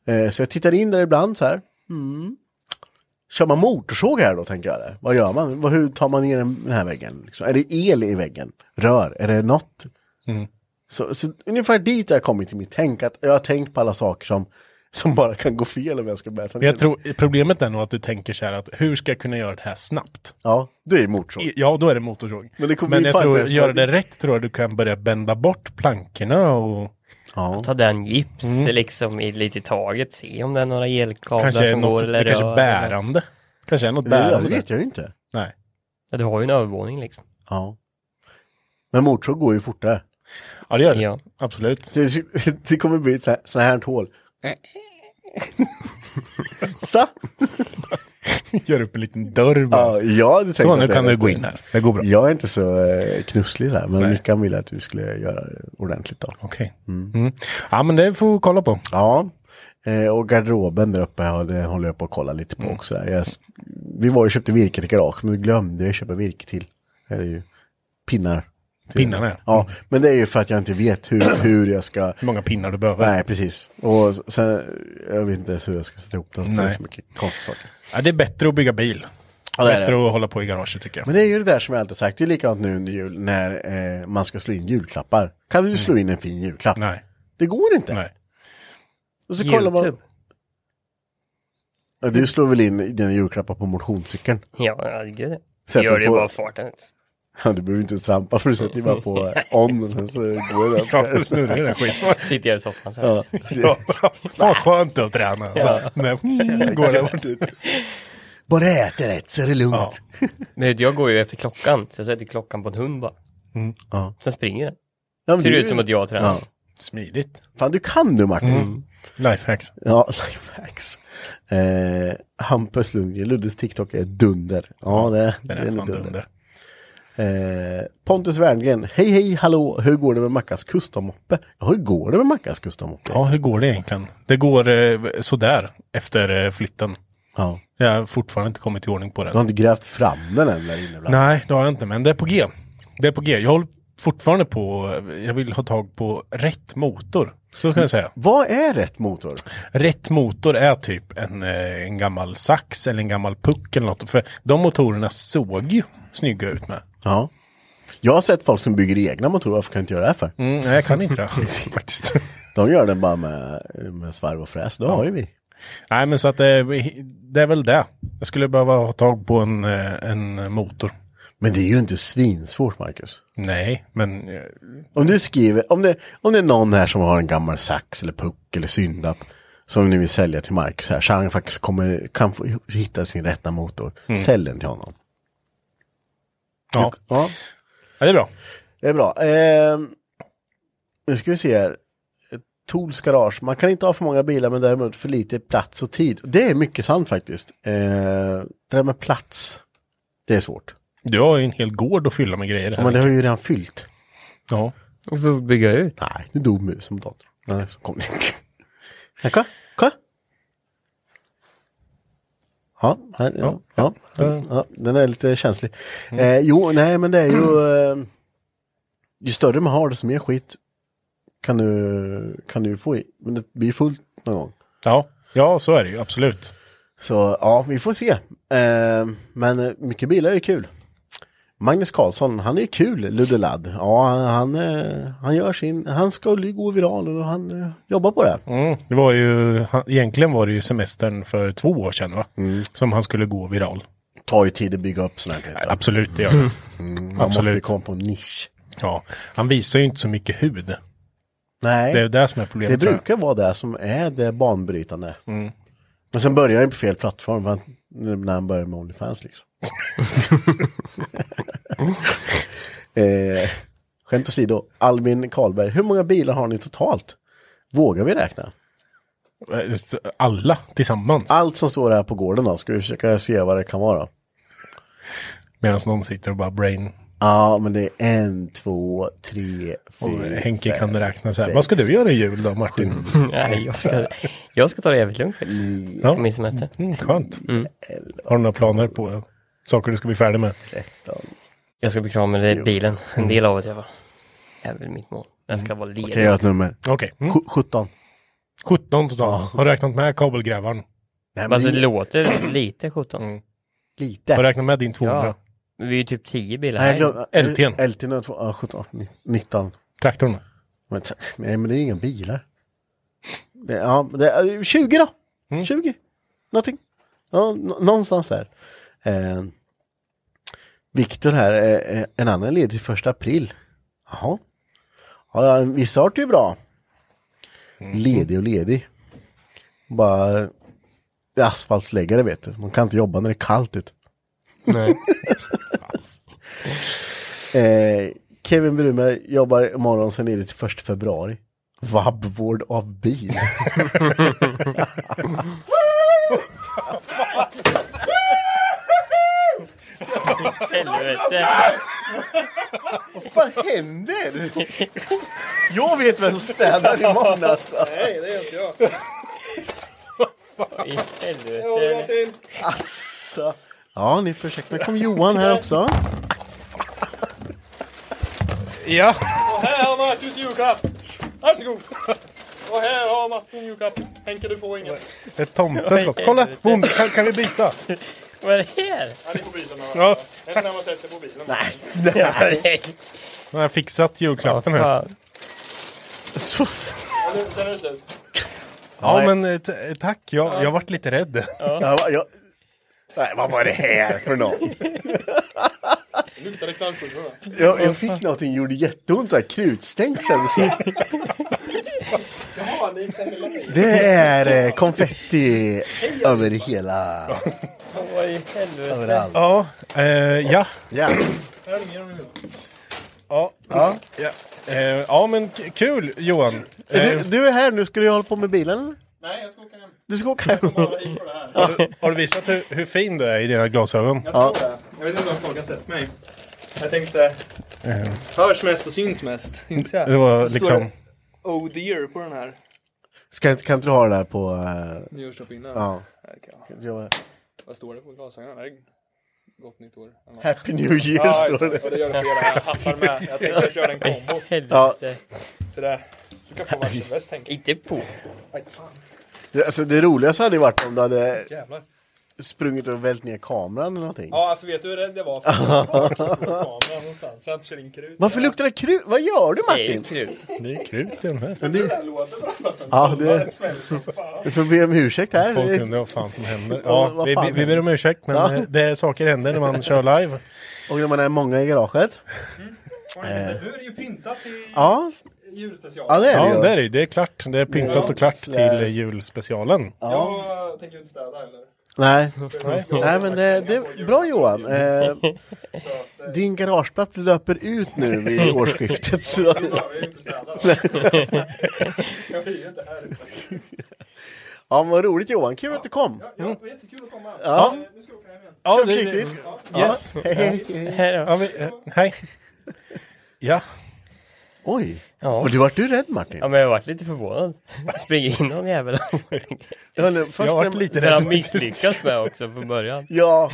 B: Eh, så jag tittar in där ibland så här. Mm. Kör man motorsåg här då, tänker jag. Det. Vad gör man? Vad, hur tar man ner den den här väggen? Liksom? Är det el i väggen? Rör? Är det något?
C: Mm.
B: Så, så ungefär dit har jag kommit i mitt tänk. Att jag har tänkt på alla saker som, som bara kan gå fel om jag ska börja ta
C: Men
B: ner
C: Jag tror, problemet är nog att du tänker så här att hur ska jag kunna göra det här snabbt?
B: Ja, du är motorsåg.
C: I- Ja, då är det motorsåg.
B: Men det kommer ju
C: Men jag
B: fan
C: tror,
B: inte ens
C: gör
B: vara-
C: det rätt tror jag du kan börja bända bort plankorna och
B: Ja.
D: Ta den gips
B: Mm.
D: liksom i lite i taget, se om det är några elkablar
C: kanske
D: som går
C: något,
D: eller
C: det kanske
D: rör
C: är
D: eller något.
C: bärande. Kanske är något
B: Det
C: bärande.
B: vet jag ju inte.
C: Nej.
D: Ja, du har ju en övervåning liksom.
B: Ja. Men motorsåg går ju fortare.
C: Ja, det gör det.
D: Ja.
C: Absolut.
B: Det, det kommer bli ett så här, så här ett hål. så.
C: Gör upp en liten dörr
B: Ja,
C: bara.
B: jag hade tänkt
C: Så,
B: att
C: nu
B: det
C: kan
B: var
C: du gå
B: lite-
C: in här. Det går bra.
B: Jag är inte så eh, knusslig så här, men
C: Nej.
B: Mickan ville att vi skulle göra det ordentligt då.
C: Okej. Mm. Ja, men det får vi kolla på.
B: Ja, eh, och garderoben där uppe ja, det håller jag på att kolla lite
C: Mm.
B: på också. Där. Jag, s- vi var ju och köpte virke till garage, men vi glömde jag köpa virke till. Det är ju pinnar. till-
C: Pinnarna, ja.
B: Ja, men det är ju för att jag inte vet hur, hur jag ska...
C: Hur många pinnar du behöver.
B: Nej, precis. Och s- sen, jag vet inte ens hur jag ska sätta ihop den. för Det är
C: Nej.
B: så mycket konstiga saker.
C: Ja, det är bättre att bygga bil.
B: Ja, det är
C: bättre att hålla på i garaget tycker jag.
B: Men det är ju det där som jag alltid sagt, det är likadant nu under jul när eh, man ska slå in julklappar. Kan du slå in en fin julklapp?
C: Nej.
B: Det går inte.
C: Nej.
B: Och så kollar man...
D: YouTube.
B: Ja, Du slår väl in dina julklappar på motionscykeln?
D: Ja, ja, gud.
B: Sätter
D: Gör det
B: på-
D: på... bara farten.
B: Ja, du behöver inte ens trampa för du sätter ju bara på eh, on och sen så går det.
C: Ja, så snurrar ju den skiten.
D: Sitter jag i soffan så här.
B: Ja.
C: Ja. Fan skönt att träna. Alltså. Nej, mm, går det bort ut.
B: Bara äta rätt så är det
C: Ja.
B: lugnt.
D: Men vet du, jag går ju efter klockan, så jag sätter klockan på en hund bara.
C: Mm.
B: Ja.
D: Sen springer den.
B: Ja, men
D: Ser
B: du-
D: ut som att jag tränar.
B: Ja.
C: Smidigt.
B: Fan, du kan du Martin.
C: Lifehacks.
B: Ja, lifehacks. Eh, Hampus Lundgren, Luddes TikTok är dunder. Ja, det,
C: Den
B: det
C: är
B: är
C: fan
B: dunder. dunder.
C: dunder.
B: Eh, Pontus Werngren, hej hej hallå, hur går det med Mackas custom-moppe? Ja, hur går det med Mackas custom-moppe?
C: Ja, hur går det egentligen? Det går eh, sådär efter eh, flytten.
B: Ja.
C: Jag har fortfarande inte kommit i ordning på det.
B: Du har inte grävt fram den än där inne bland
C: Nej, det har jag inte, men det är på G. Det är på G. Jag håller fortfarande på, eh, jag vill ha tag på rätt motor. Så ska jag säga.
B: Vad är rätt motor?
C: Rätt motor är typ en, eh, en gammal sax eller en gammal puck eller något. För de motorerna såg ju snygga ut med.
B: Ja. Jag har sett folk som bygger egna motorer, varför kan jag inte göra det här för?
C: Mm, nej, jag kan inte det faktiskt.
B: De gör den bara med, med svarv och fräs, det har ju vi.
C: Nej, men så att eh, det är väl det. Jag skulle behöva ha tag på en, eh, en motor.
B: Men det är ju inte svinsvårt Marcus.
C: Nej, men eh,
B: Om du skriver, om det, om det är någon här som har en gammal sax eller puck eller syndapp som ni vill sälja till Marcus här, så han faktiskt kommer, kan få hitta sin rätta motor. Sälj den till honom.
C: ja.
B: Ja,
C: ja, det är bra.
B: det är bra. Ehm, nu ska vi se här. Tools garage. Man kan inte ha för många bilar men däremot för lite plats och tid. Det är mycket sant faktiskt. Eh, det där med plats, det är svårt.
C: Du har ju en hel gård att fylla med grejer. Här.
B: Men det har ju redan fyllt.
C: Ja.
D: Och så bygga ut.
B: Nej, nu dog musen på datorn. Nej, så kom den. Jacka? Jacka? Ja, här, ja, ja, ja, den är lite känslig. Eh, jo, nej men det är ju... Eh, ju större man har desto mer skit kan du, kan du få i. Men det blir fullt någon gång.
C: Ja. ja, så är det ju absolut.
B: Så ja, vi får se. Eh, men eh, mycket bilar är kul. Magnus Karlsson, han är kul, Ludde Ladd. Ja, han, han, eh, han gör sin, han ska ju gå viral och han eh, jobbar på det.
C: Mm. Det var ju, han, egentligen var det ju semestern för två år sedan va? Som han skulle gå viral.
B: Tar ju tid att bygga upp sådana här grejer.
C: Absolut, det gör det.
B: Mm, man
C: Absolut.
B: måste komma på en nisch.
C: Ja, han visar ju inte så mycket hud.
B: Nej,
C: Det är
B: det,
C: det som är problemet. tror jag. Mm.
B: brukar vara det som är det banbrytande. Men sen börjar han på fel plattform va? när han börjar med Onlyfans liksom. eh, skämt åsido, Albin Karlberg, hur många bilar har ni totalt? Vågar vi räkna?
C: Eh, Alla tillsammans.
B: Allt som står här på gården då, ska vi försöka se vad det kan vara?
C: Medan någon sitter och bara brain.
B: Ja, men det är en, två, tre,
C: Och
B: fyra,
C: Henke
B: fem,
C: kan räkna så här.
B: sex,
C: Vad ska du göra i jul då Martin?
D: Nej, jag ska, jag ska ta det jävligt lugnt faktiskt.
C: Ja.
D: På min semester.
C: Mm, skönt. Har du några planer på saker du ska bli färdig med?
B: tretton.
D: Jag ska bli klar med det- bilen. En del av det i alla fall. Det är väl mitt mål. Jag ska vara ledig.
B: Kan jag göra ett nummer?
C: Okej. Mm.
B: Sj- 17.
C: 17 totalt. Har du räknat med kabelgrävaren?
B: Nej,
D: Men
B: men det
D: alltså
B: är
D: det låter lite 17.
C: Har du
B: lite.
C: räknat med din 200?
D: Ja. Men vi är ju typ 10 bilar
B: Nej, jag
D: här.
B: glömde.
C: LT'n.
B: LT'n är två, ja, 17, 19.
C: Traktorn?
B: Men, t- nej, men det är inga bilar. Det, ja, det, är- 20 då! 20. Någonting. Ja, nå- någonstans där. Eh, Viktor här, eh, eh, en annan ledig till första april. Jaha. Ja, ja, vissa har det ju bra. Ledig och ledig. Bara eh, asfaltsläggare vet du. De kan inte jobba när det är kallt ute.
D: Nej.
B: Eh, Kevin Brunberg jobbar imorgon, sen är det till första februari. Vabbvård av bil.
D: Helvete.
B: Vad fan händer? Jag vet vem som städar imorgon alltså.
D: I helvete.
B: alltså. Ja, ni får ursäkta. Nu kom Johan här också.
C: Ja.
D: Här har Marcus julklapp. Varsågod. Och här har Martin julklapp. Henke, du får inget.
C: Ett tomteskott. Kolla! Boom. Kan, kan vi byta?
D: Vad är det här?
C: Ja.
D: Nej.
C: Nu har jag fixat julklappen här.
D: Fan.
B: Så-
C: Ja men eh, t- tack. Jag, jag varit lite rädd.
B: Ja, va- jag... Nej, vad var det här för något? jag, jag fick någonting, gjorde jätteont, där krutstänk kändes det Det är eh, konfetti över hela,
D: Vad i helvete.
B: överallt.
C: Ja. Eh, ja.
B: Ja.
C: Ja.
B: Ja.
C: Ja. Eh, ja men k- kul Johan.
B: Du,
C: Eh,
B: du är här nu, ska du hålla på med bilen eller?
E: Nej, jag ska åka hem.
B: Du ska åka hem?
C: har, du, har du visat hur, hur fin du är i dina glasögon?
E: Jag tror det. Jag vet inte om folk har sett mig. Jag tänkte... eh, Hörs mest och syns mest. Syns jag?
C: Det var
E: Så står
C: liksom...
E: det Oh dear på den här
B: Ska, kan inte du ha det där på... eh,
E: nyårsdagsskinnen.
B: ja.
E: Här kan jag-
B: jag-
E: Vad står det på glasögonen? Är det Gott nytt år. eller nåt?
B: Happy New Year
E: Ja, just
B: står
E: det.
B: det.
E: Ja, det gör det på hela. Jag passar med. Jag tänkte jag körde en kombo.
D: Helvete.
E: Så det. Du kan få varsin väst, tänker
D: Inte på.
E: jag. Aj, fan.
B: det. Alltså, det roligaste hade ju varit om du hade
E: Jävlar.
B: sprungit och vält ner kameran eller någonting.
E: Ja, alltså vet du hur rädd jag var? För att det var en kamera någonstans. Så jag inte kör in krut.
B: Varför luktar det krut? Vad gör du
D: Det är ju
B: Martin?
D: kul.
C: Det är krut i den här.
E: Det här låter bra. Alltså.
B: Ja, det-
E: det svälls. Fan.
B: Du får be om ursäkt här.
C: Folk undrar vad fan som händer.
B: Vad-
C: Ja,
B: vad
C: vi,
B: fan
C: vi- vi
B: händer?
C: ber om ursäkt men
B: Ja.
C: eh, det är saker händer när man kör live.
B: Och när man är många i garaget.
E: Nu är det ju pyntat till
B: Eh. Ja,
E: julspecial.
B: ja det är det
C: Ja
B: ju.
C: det är det ju. Det är klart. Det är pyntat och klart till eh, julspecialen.
E: Jag tänker inte städa heller.
B: Nej. Nej men eh, det, det är bra Johan. Eh, din garageplats löper ut nu vid årsskiftet. Så.
E: Jag vill ju inte städa. Jag vill ju inte här ute.
B: Ja vad roligt Johan, kul att du kom.
E: Ja, det var jättekul att komma.
B: Ja.
E: Eh, Nu ska jag åka hem igen.
C: Ja,
B: Kör försiktigt.
C: det- Yes.
B: Hej, hej, hej.
D: Här då.
C: Ja, vi, eh, hej. Ja.
B: Oj,
D: Ja.
B: och du vart du rädd Martin?
D: Ja men jag varit lite förvånad. Jag springer in någon jävel.
B: Jag höll- först
C: Jag har varit
B: när-
C: lite
D: Det har han
C: rädd.
D: misslyckats med också från början.
B: Ja,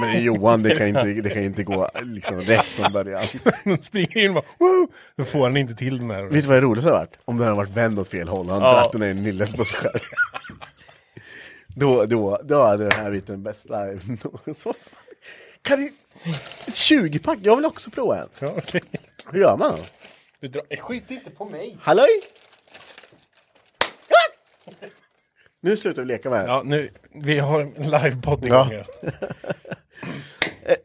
B: men Johan det kan inte, det kan inte gå liksom rätt från början.
C: Han springer in och bara, Woo! Då får han inte till den här.
B: Vet du vad det roligaste hade varit? Om den hade varit vänd åt fel håll, han
D: Ja.
B: dratt den i nillet på sig själv. Då, då, då hade den här biten den bästa. Så fan. Kan ni... Ett 20-pack, jag vill också prova en.
C: Ja, okay.
B: Hur gör man då?
C: Du drar, skit inte på mig!
B: Halloj! Nu slutar vi leka med det här.
C: Ja, nu, vi har en livepodd igång.
B: Ja.
C: Ja.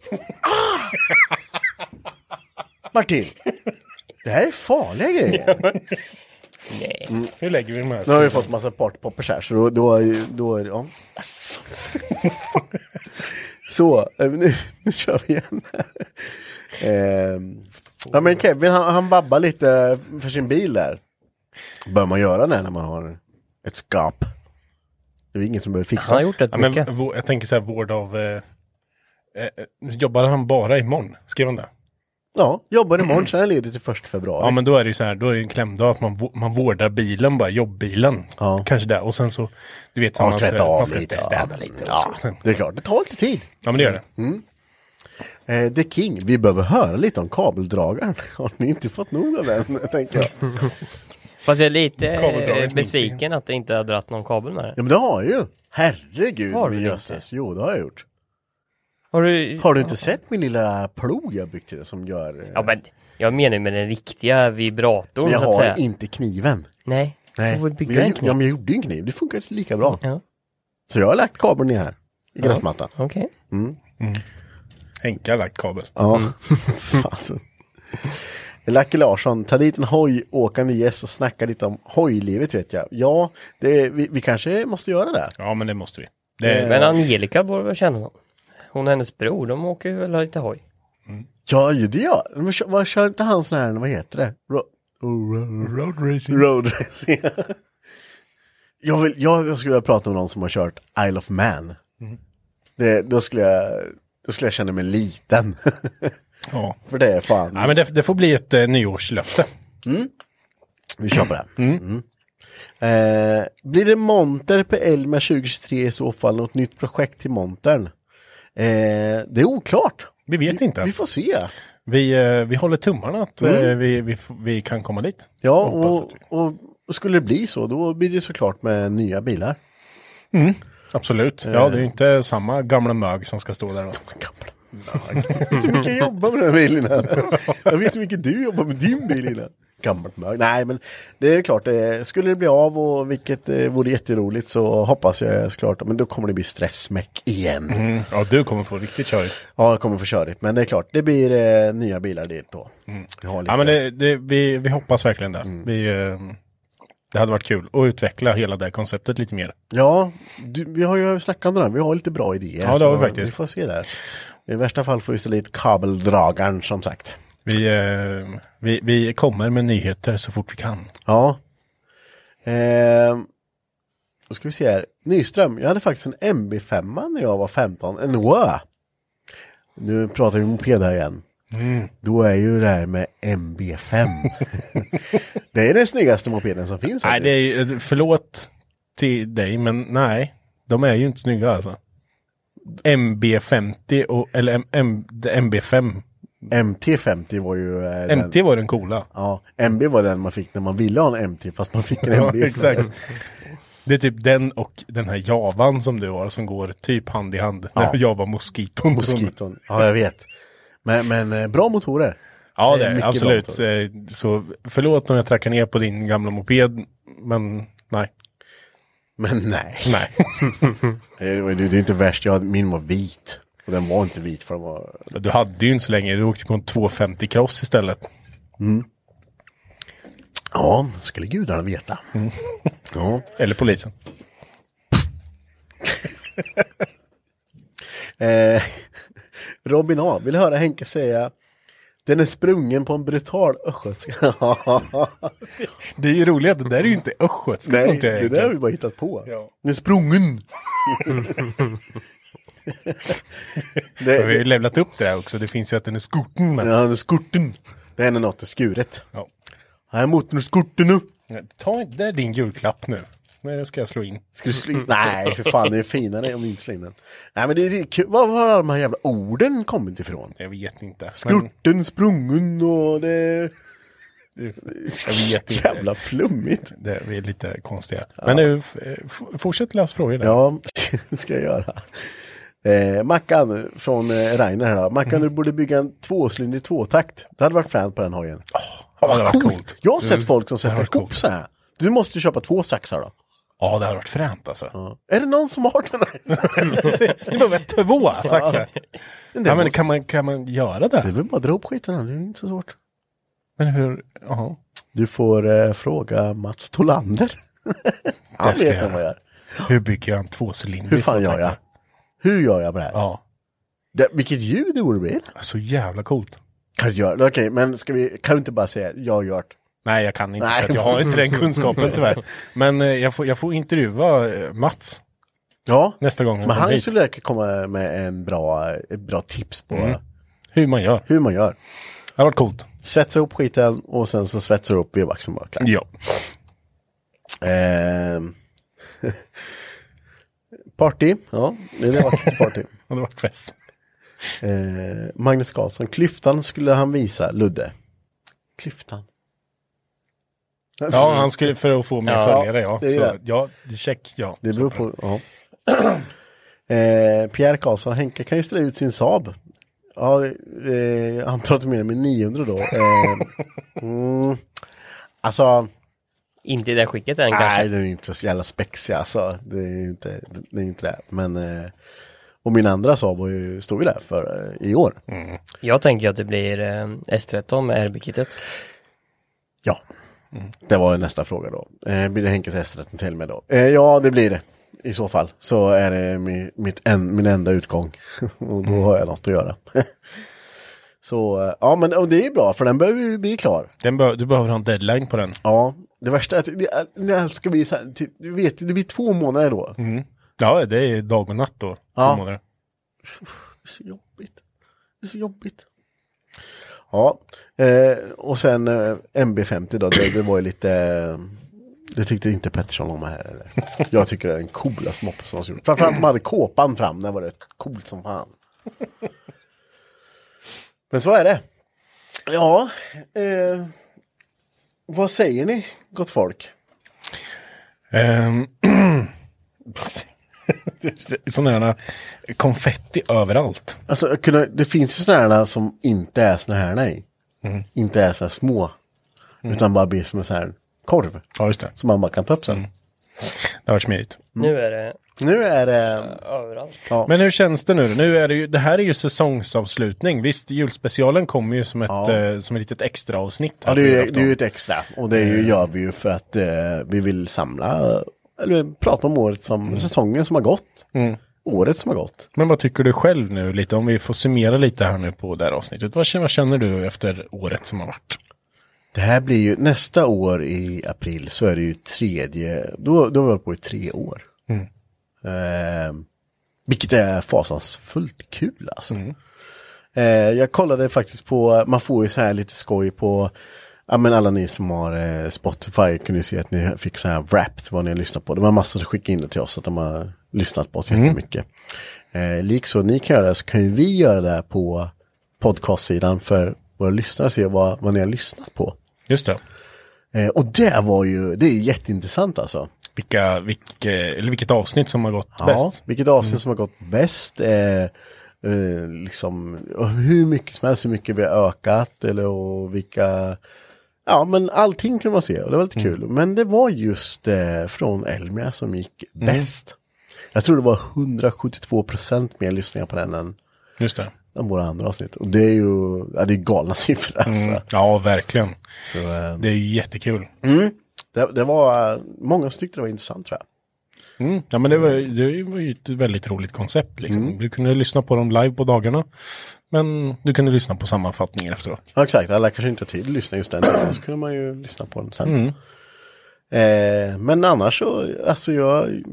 B: Martin! Det här är farliga grejer.
C: Mm. Hur lägger vi den här?
B: Nu har vi fått massa partypoppers här, så då, då, är ju- då är det... Ja. Så, eh, nu, nu kör vi igen. Ehm, ja men Kevin, han, han vabbar lite för sin bil där. Bör man göra det när man har ett skap? Det är inget som behöver fixas.
C: ja, men, vå- Jag tänker så här, vård av... Eh, eh, jobbar han bara imorgon? Skrev han det?
B: Ja, jobbar imorgon, sen är jag ledig till första februari.
C: Ja, men då är det ju så här, då är det en klämdag att man, vå- man vårdar bilen bara, jobbbilen. Kanske det. Och sen så, du vet, så
B: Ja,
C: man
B: tvätta
C: ska-
B: av
C: man ska
B: lite,
C: städa
B: ja.
C: lite.
B: Ja,
C: Och så, sen.
B: Det är klart, det tar lite tid.
C: ja, men det gör det.
B: Mm. Eh, The King, vi behöver höra lite om kabeldragaren. Har ni inte fått nog av den, tänker jag.
D: Fast jag är lite
B: Kabeldraget
D: eh,
B: mitt i.
D: besviken att det inte har dratt någon kabel med det.
B: Ja men det har jag ju. Herregud
D: Har
B: har
D: du
B: du
D: det
B: jösses. Jo det har jag gjort.
D: Har du,
B: har du inte sett min lilla plog jag byggt till det som gör... eh,
D: Ja, men jag menar ju med den riktiga vibratorn
B: men jag
D: så att
B: har
D: säga.
B: inte kniven.
D: Nej,
B: Nej.
D: får vi
B: Men
D: bygga
B: jag,
D: en
B: gjorde- Ja
D: kniv?
B: men jag gjorde ju en kniv, det funkar ju lika bra.
D: Ja.
B: Så jag har lagt kabeln ner här. I
D: Ja.
B: gräsmattan.
D: Okej.
B: Mm.
C: Henke har lagt kabel.
B: Ja.
D: Mm.
B: Fan, så. Lucky Larsson, ta dit en hoj, åka en gäst och snacka lite om hojlivet vet jag. Ja, det, vi, vi kanske måste göra det.
C: Ja, men det måste vi.
D: Men Angelica borde väl känna någon. Hon och hennes bror, de åker väl lite hoj.
B: Ja, ju det gör Men kör, vad kör inte han sån här, vad heter det? Ro- oh, ro-
C: Road racing.
B: Road racing. jag, vill, jag, jag skulle vilja prata med någon som har kört Isle of Man.
C: Mm.
B: Det, då, skulle jag, då skulle jag känna mig liten.
C: Ja.
B: För det är fan.
C: Ja, men det, det får bli ett eh, nyårslöfte.
B: Mm. Vi kör på det. Mm. Eh, blir det monter på Elmer 2023 i så fall något nytt projekt till montern? Eh, det är oklart.
C: Vi vet inte.
B: Vi får se.
C: Vi, eh, vi håller tummarna att eh,
B: Mm.
C: vi, vi, f- vi kan komma dit.
B: Ja,
C: Jag hoppas
B: och, och, och skulle det bli så då blir det såklart med nya bilar.
C: Mm. Absolut. Ja, det
B: Eh.
C: är ju inte samma gamla mög som ska stå där då.
B: Jag vet inte hur mycket jag jobbar med den här bilen. Här. Jag vet hur mycket du jobbar med din bil innan. Gammalt mög. Nej, men det är klart, eh, skulle det bli av och vilket eh, vore jätteroligt så hoppas jag såklart, men då kommer det bli stressmäck igen.
C: Mm. Ja, du kommer få riktigt körigt.
B: Ja, jag kommer få körigt, men det är klart, det blir eh, nya bilar dit då. Jag har lite-
C: Mm. Ja, men det, det, vi, vi hoppas verkligen det. Vi, eh, det hade varit kul att utveckla hela det här konceptet lite mer.
B: Ja, du, vi har ju snackat om det här. Vi har lite bra idéer.
C: Ja, det har
B: så
C: vi faktiskt.
B: Vi får se där. I värsta fall får vi ställa dit kabeldragaren som sagt.
C: Vi, eh, vi, vi kommer med nyheter så fort vi kan.
B: Ja. Ehm, då ska vi se här. Nyström, jag hade faktiskt en MB5 när jag var 15. En WÖ. Nu pratar vi moped här igen.
C: Mm.
B: Då är ju det här med MB5. det är den snyggaste mopeden som finns.
C: Nej,
B: faktiskt.
C: det är, ju- förlåt till dig, men nej. De är ju inte snygga alltså. MB50 och, eller M, M, MB5.
B: MT50 var ju... eh, den-
C: MT var den coola.
B: Ja, MB var den man fick när man ville ha en MT fast man fick en
C: Ja,
B: MB.
C: exakt. Det är typ den och den här javan som du har som går typ hand i hand. Den
B: Ja.
C: här java moskiton.
B: Moskiton. Ja, jag vet. Men, men eh, bra motorer.
C: Ja, det
B: Eh,
C: är det.
B: mycket bra
C: Absolut.
B: motorer.
C: Eh, Så förlåt om jag trackar ner på din gamla moped, men nej.
B: Men nej. Eh,
C: Nej.
B: det, var, det, det är inte värst, jag, min var vit. Och den var inte vit för den var...
C: Du hade ju inte så länge. Du åkte på en 250 cross istället.
B: Ja, det skulle gudarna veta.
C: Mm.
B: Ja.
C: Eller polisen.
B: Eh, Robin A, vill höra Henke säga den är sprungen på en brutal östgötska.
C: Det är ju roligt att det där är ju inte östgötska. tror
B: Nej,
C: inte jag
B: det där
C: egentligen.
B: har vi bara hittat på.
C: Ja.
B: Den är sprungen.
C: Men vi har ju levlat upp det där också. Det finns ju att den är skorten med.
B: Ja, den är skurten. Det är när något är skuret.
C: Ja.
B: Här är motorn skurten nu.
C: Ta inte det där är din julklapp nu. Nu ska jag slå in.
B: Ska du slå in? Nej, för fan, det är finare om du inte slår in den. Nej, men det är kul. Var var har de här jävla orden kommit ifrån?
C: Jag vet inte. Men
B: Skurten, sprungen och det...
C: Jag vet inte.
B: Jävla flummigt.
C: Det, vi är lite konstiga. Men nu, f- f- fortsätt läs frågor. Där.
B: Ja, det ska jag göra. Eh, Mackan från eh, Reiner här. då. Mackan,
C: Mm.
B: du borde bygga en tvåcylindrig tvåtakt. Det hade varit fränt på den hojen.
C: Ja, det hade varit coolt.
B: Jag har sett
C: Mm.
B: folk som
C: Det hade
B: sätter
C: varit
B: ihop så här. Du måste ju köpa två saxar då.
C: Ja, det hade varit fränt alltså.
B: Är det någon som har den här?
C: Det behöver jag två saxar.
B: Men det
C: Ja, men
B: måste-
C: kan man, kan man göra det?
B: Det är väl bara att dra upp skiten, här, det är inte så svårt.
C: Men hur, jaha.
B: Du får eh, fråga Mats Tolander. Han
C: Det ska jag
B: vet han vad jag
C: göra.
B: gör.
C: Hur bygger jag en tvåcylindrig
B: Hur fan gör jag?
C: tvåtaktare?
B: Hur gör jag på det här?
C: Ja,
B: Det, vilket ljud det borde bli.
C: så jävla coolt.
B: Kan du göra det? Okej, men ska vi, kan du inte bara säga jag har gjort?
C: Nej, jag kan inte.
B: Nej.
C: För att jag har inte den kunskapen tyvärr. Men eh, jag får, jag får intervjua eh, Mats
B: Ja,
C: nästa gång
B: men han
C: hit.
B: skulle säkert komma med en bra, ett bra tips på
C: Mm. Hur man gör.
B: hur man gör.
C: Det har varit coolt.
B: Svetsa ihop skiten och sen så svetsar du upp vevaxeln bara. Klart.
C: Ja.
B: Ehm. party, ja, det är vackert party.
C: Det har varit fest.
B: Eh, Magnus Karlsson, klyftan skulle han visa Ludde. Klyftan.
C: Ja, han skulle för att få mer
B: Ja,
C: följare. Ja,
B: det är
C: så,
B: det.
C: ja check. Ja.
B: Det beror på, ja. eh, Pierre Karlsson, Henke kan ju ställa ut sin Saab. Ja, eh, jag antar att du menar med 900 då. Eh, mm, alltså,
D: Inte i det skicket än
B: nej
D: kanske.
B: det är ju inte så jävla spexig alltså. Det är ju inte det. Är ju inte det. Men, eh, och min andra Saab var ju, stod ju där för eh, i år.
D: Jag tänker att det blir eh, S13 med RB-kittet.
B: Ja, det var nästa fråga då. Eh, blir det Henkes S13 till med då? Eh, ja, det blir det. I så fall så är det mi- mitt en, min enda utgång. och då har jag något att göra. så eh, ja, men och det är bra för den behöver ju bli klar.
C: Den be- du behöver ha en deadline på den.
B: Ja, det värsta är att det, är- när ska vi, så här, typ, du vet, det blir två månader då.
C: Ja, det är dag och natt då.
B: Ja.
C: Två månader.
B: Det är så jobbigt. Det är så jobbigt. Ja, eh, och sen eh, MB50 då, det, det var ju lite... eh, Det tyckte inte Pettersson om här. Eller? Jag tycker det är den coolaste moppen som någonsin gjort. Framförallt när man hade kåpan fram, den var det coolt som fan. Men så är det. Ja, eh, vad säger ni gott folk?
C: Ehm, Sådana här konfetti överallt.
B: Alltså, jag kunde, det finns ju sådana här som inte är såna här, nej. Inte är så här små. Utan bara blir som en sån här korv.
C: Ja, just det.
B: Som man bara kan ta upp sen.
C: Det har varit smidigt.
D: Nu är det
B: Nu är det...
D: överallt.
C: Men hur känns det nu? nu är det, ju, det här är ju säsongsavslutning. Visst, julspecialen kommer ju som ett, eh, som ett litet extra avsnitt.
B: Ja, det är, ju, det är ju ett extra. Och det är ju, gör vi ju för att eh, vi vill samla, eh, eller prata om året som, säsongen som har gått. Mm. Året som har gått.
C: Men vad tycker du själv nu lite? Om vi får summera lite här nu på det här avsnittet. Vad känner, vad känner du efter året som har varit?
B: Det här blir ju, nästa år i april så är det ju tredje, då, då har vi hållit på i tre år. Eh, vilket är fasansfullt kul alltså. Eh, jag kollade faktiskt på, man får ju så här lite skoj på, ja men alla ni som har eh, Spotify kunde ju se att ni fick så här wrapped vad ni har lyssnat på. Det var massor som skickade in det till oss att de har lyssnat på oss jättemycket. Eh, Likså ni kan göra det så kan ju vi göra det här på podcastsidan för våra lyssnare att se vad, vad ni har lyssnat på.
C: Just det.
B: Eh, och det var ju, det är ju jätteintressant alltså.
C: Vilka, vilke, eller vilket avsnitt som har gått
B: Ja,
C: bäst. Mm.
B: vilket avsnitt som har gått bäst. Eh, eh, liksom, och hur mycket som helst, hur mycket vi har ökat eller och vilka... Ja, men allting kunde man se och det var lite
C: Mm.
B: kul. Men det var just eh, från Elmia som gick
C: Mm.
B: bäst. Jag tror det var 172 procent mer lyssningar på den än
C: Just det. Mm.
B: än våra andra avsnitt. Och det är ju ja, det är galna siffror alltså.
C: Mm. Ja, verkligen.
B: Så, eh, mm.
C: Det är ju jättekul.
B: det, det var, eh, många som tyckte det var intressant tror jag.
C: Mm. Ja, men det var, det var ju ett väldigt roligt koncept. Liksom.
B: Mm.
C: Du kunde lyssna på dem live på dagarna. Men du kunde lyssna på sammanfattningen efteråt.
B: Ja, exakt. Alla kanske inte har tid att lyssna just den tiden, så kunde man ju lyssna på den sen. Eh, men annars så, alltså jag,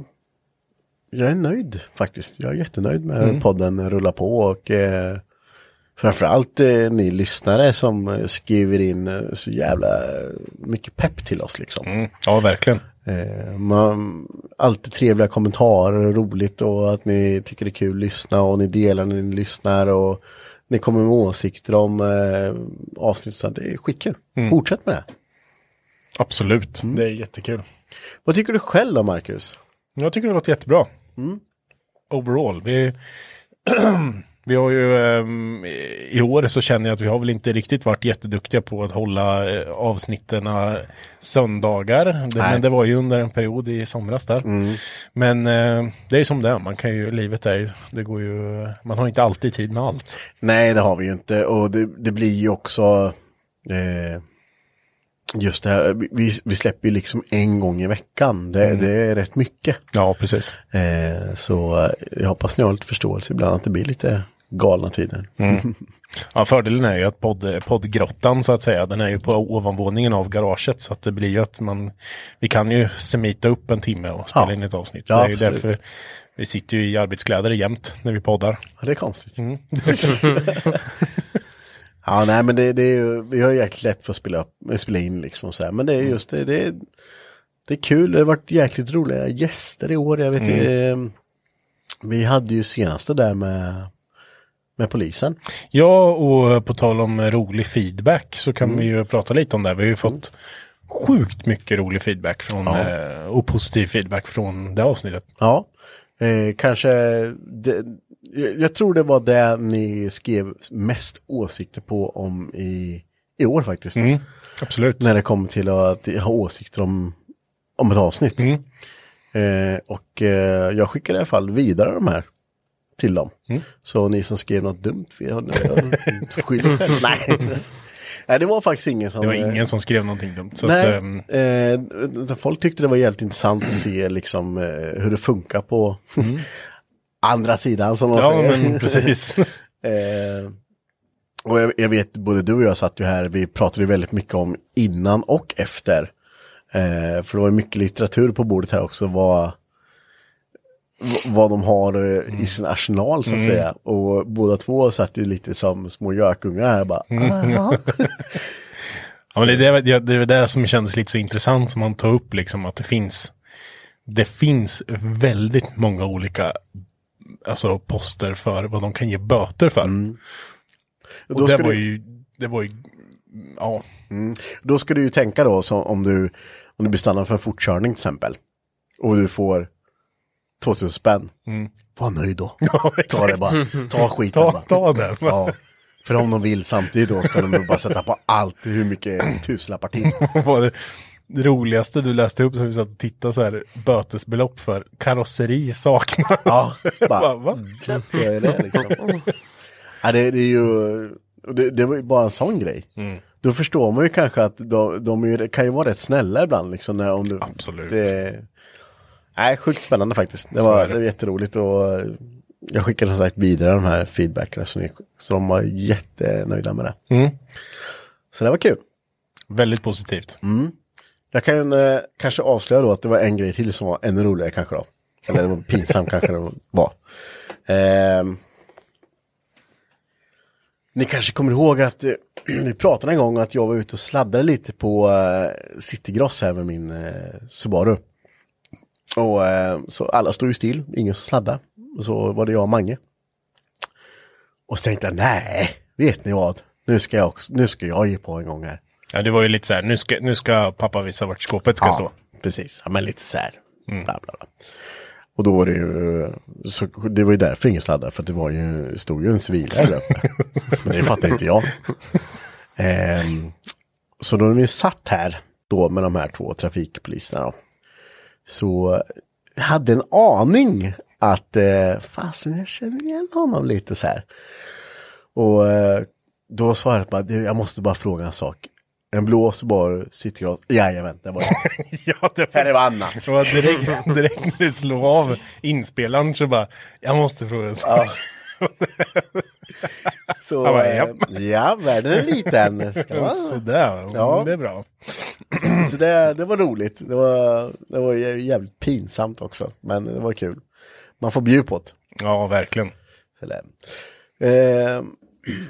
B: jag är nöjd faktiskt. Jag är jättenöjd med hur podden rullar på och eh, framförallt eh, ni lyssnare som eh, skriver in eh, så jävla eh, mycket pepp till oss liksom.
C: Mm. Ja, verkligen.
B: Eh, man, alltid trevliga kommentarer och roligt och att ni tycker det är kul att lyssna och ni delar när ni lyssnar och Ni kommer med åsikter om eh, avsnitt. Så det är skitkul. Fortsätt med det.
C: Absolut, Mm. det är jättekul.
B: Vad tycker du själv då, Marcus?
C: Jag tycker det låter jättebra. Overall. Vi, vi har ju ehm, i år så känner jag att vi har väl inte riktigt varit jätteduktiga på att hålla eh, avsnitten söndagar. Det,
B: Nej.
C: men det var ju under en period i somras där. Men eh, det är som det är, man kan ju, livet är ju, det går ju, man har inte alltid tid med allt.
B: Nej, det har vi ju inte. Och det, det blir ju också eh, just det här. vi- Vi, vi släpper ju liksom en gång i veckan. Det, det är rätt mycket.
C: Ja, precis.
B: Eh, så eh, jag hoppas ni har lite förståelse ibland att det blir lite galna tider.
C: Mm. Ja, fördelen är ju att podd, poddgrottan så att säga, den är ju på ovanvåningen av garaget så att det blir ju att man, vi kan ju smita upp en timme och spela
B: Ja.
C: in ett avsnitt.
B: Ja,
C: det är ju
B: absolut.
C: därför vi sitter ju i arbetskläder jämt när vi poddar.
B: Ja, det är konstigt.
C: Mm.
B: Ja, nej, men det, det är ju, vi har ju jäkligt lätt för att spela, upp, spela in liksom så här. Men det
C: Mm.
B: är just det, det, är- det är kul. Det har varit jäkligt roliga gäster i år. Jag vet
C: Mm.
B: eh, vi hade ju senaste där med, med polisen.
C: Ja, och på tal om rolig feedback så kan
B: Mm.
C: vi ju prata lite om det. här. Vi har ju fått sjukt mycket rolig feedback från,
B: Ja.
C: eh, och positiv feedback från det avsnittet.
B: Ja, eh, kanske, det, jag, jag tror det var det ni skrev mest åsikter på om i, i år faktiskt.
C: Mm, absolut.
B: När det kommer till att ha åsikter om, om ett avsnitt.
C: Mm.
B: Eh, och eh, jag skickar i alla fall vidare de här till dem.
C: Mm.
B: Så ni som skrev något dumt, vi har, jag skyller själv. Nej. Nej, det var faktiskt ingen som... eh,
C: Det var ingen som skrev någonting dumt. Så
B: Nej,
C: att, ehm,
B: eh, utan folk tyckte det var jävligt intressant att se liksom, eh, hur det funkar på andra sidan som man
C: Mm. Ja,
B: säger.
C: men precis.
B: eh, och jag, jag vet, både du och jag satt ju här, vi pratade ju väldigt mycket om innan och efter. Eh, för det var ju mycket litteratur på bordet här också, vad, vad de har eh, i sin arsenal så att
C: Mm.
B: säga. Och båda två satt ju lite som små gökungar här bara.
C: Mm.
B: Ah, "Aha."
C: Ja, men det, är det, det är det som kändes lite så intressant som man tar upp, liksom att det finns, det finns väldigt många olika alltså, poster för vad de kan ge böter för.
B: Mm. Då
C: Och det
B: ska
C: var
B: du-
C: ju, det var ju, ja.
B: Mm. Då ska du ju tänka då så om du, om du blir stannad för en fortkörning till exempel. Och du får 2000 spänn.
C: Mm.
B: Var nöjd då.
C: Ja,
B: ta det
C: exakt.
B: bara. Ta skiten
C: Ta-
B: bara.
C: ta den.
B: Ja. För om de vill samtidigt då ska de bara sätta på allt hur mycket tusenlappar till.
C: Vad var det? Det roligaste du läste upp som vi satt och tittade så här, bötesbelopp för karosseri saknas.
B: Ja, bara,
C: Bara, va?
B: vad är det liksom? ja, det, det är ju, och det, det var ju bara en sån grej.
C: Mm.
B: Då förstår man ju kanske att de, de är, ju- kan ju vara rätt snälla ibland liksom. När, om du,
C: Absolut.
B: Det, nej, sjukt spännande faktiskt. Det
C: Så
B: var,
C: är
B: det.
C: det.
B: var jätteroligt och eh, jag skickade som sagt vidare de här feedbackerna så, ni, så de var jättenöjda med det.
C: Mm.
B: Så det var kul.
C: Väldigt positivt.
B: Mm. Jag kan eh, kanske avslöja då att det var en grej till som var ännu roligare kanske då. Eller det var pinsam kanske det var. Ehm. ni kanske kommer ihåg att eh, vi pratade en gång att jag var ute och sladdade lite på eh, Citygross här med min eh, Subaru. Och eh, så alla stod ju still, ingen som sladdade. Och så var det jag och Mange. Och så tänkte jag, nej, vet ni vad? Nu ska jag, också, nu ska jag ge på en gång här.
C: Ja, det var ju lite så här, nu ska, nu ska pappa visa vart skåpet ska stå.
B: Precis, ja, men lite så här. Bla, bla, bla. Och då var det ju, så, det var ju därför ingen sladdade, för att det var ju, stod ju en civilare där uppe. Men det fattar inte jag. Ehm, så då när vi satt här, då med de här två trafikpoliserna då, så hade en aning att, eh, fasen jag känner igen honom lite så här. Och eh, då sa jag bara, "Du, jag måste bara fråga en sak. En blå Subaru Citygross, jajamän, det var det.
C: Ja, det
B: Här är vad annat.
C: Så att direkt, direkt när du slår av inspelaren så bara, jag måste fråga. en sak.
B: Så,
C: Ja, men,
B: eh, ja, världen är liten. Ska man?
C: Sådär,
B: Ja.
C: ja. det är bra.
B: Så det, det var roligt. Det var, det var jä- jävligt pinsamt också, men det var kul. Man får bjuda på det.
C: Ja, verkligen.
B: Eller, eh,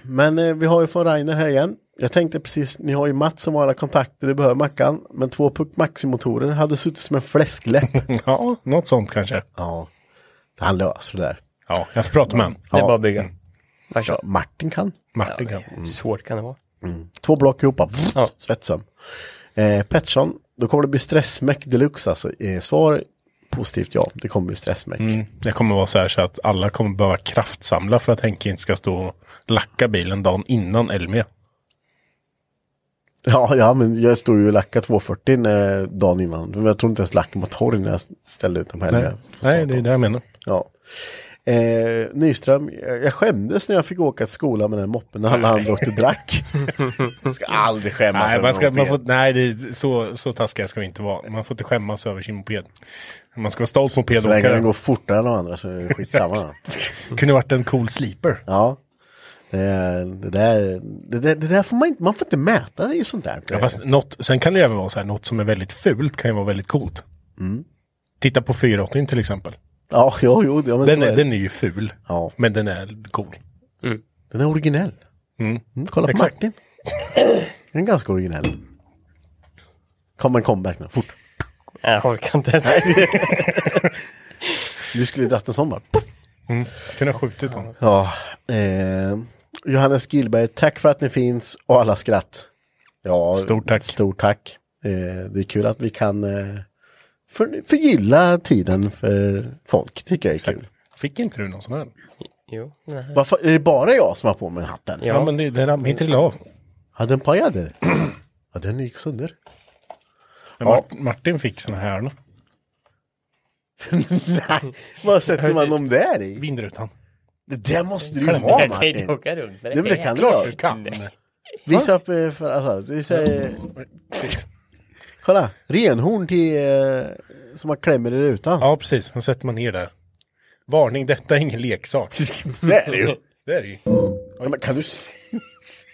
B: men eh, vi har ju från Rainer här igen. Jag tänkte precis, ni har ju Mats som har alla kontakter, det behöver Mackan. Men två Puck Maxi-motorer hade suttit som en fläskläpp.
C: Ja, något sånt kanske.
B: ja, han löser det där.
C: Ja, jag får prata med honom.
D: Det är bara att bygga.
B: Ja, Martin kan.
C: Martin kan.
B: Mm.
D: Hur svårt kan det vara?
B: Mm. Två block ihop, bara vrrt, svetsar. Eh, Pettersson, då kommer det bli stressmäck deluxe alltså. Eh, svar positivt ja, det kommer bli stressmäck.
C: Mm. Det kommer vara så här så att alla kommer behöva kraftsamla för att Henke inte ska stå och lacka bilen dagen innan E. Elmia.
B: Ja, ja, men jag stod ju och lackade 240 när, dagen innan. Men jag tror inte ens lacken var torr när jag ställde ut den på
C: Nej,
B: helgen.
C: Nej det är det jag menar.
B: Ja. Eh, Nyström, jag jag skämdes när jag fick åka till skolan med den moppen när alla andra åkte och drack. ska aldrig skämmas
C: Nej,
B: över
C: man ska,
B: moped.
C: man får, nej det är, så, så taskiga ska vi inte vara. Man får inte skämmas över sin moped. Man ska vara stolt
B: Så länge den
C: mopedåkare.
B: går fortare än de andra så är det skitsamma.
C: Kunde varit en cool sleeper.
B: ja. Det, är- det, där, det, där, det där får man inte, man får inte mäta i sånt där.
C: Ja, fast något, sen kan det även vara så här, något som är väldigt fult kan ju vara väldigt coolt.
B: Mm.
C: Titta på 480 till exempel.
B: Ja, jo, jo, ja, men
C: Den
B: så
C: är,
B: är det.
C: den är ju ful,
B: Ja.
C: men den är cool.
B: Den är originell.
C: Mm.
B: Mm, kolla på
C: Exakt.
B: Martin. Den är ganska originell. Kom en comeback nu, fort.
D: Jag orkar inte ens.
B: Du skulle dratt en sån bara. Puff.
C: Kunde ha skjutit honom.
B: Ja, eh, Johannes Gillberg, tack för att ni finns och alla skratt. Ja,
C: Stort tack.
B: Stort tack. Eh, det är kul att vi kan eh, för, förgylla tiden för folk, tycker jag är kul.
C: Fick inte du någon sån här?
D: Jo.
B: Varför, är det bara jag som har på mig hatten?
C: Ja,
D: Ja.
C: men det, den ramlade inte till av.
B: Ja, den pajade. ja, den gick sönder.
C: Men
B: Ja.
C: Mart- Martin fick sån här. då.
B: Nej, vad sätter man dem där i?
C: Vindrutan.
B: Det där måste du ju ha
D: Jag kan inte
B: Martin.
D: åka runt med
B: Det, det kan du ha. Visa upp eh, för alltså, visa, eh, kolla, renhorn till, eh, som man klämmer i rutan.
C: Ja, precis. Sen sätter man ner där. Varning, detta är ingen leksak.
B: Det är det ju.
C: Det är det ju.
B: Ja, men kan du... s-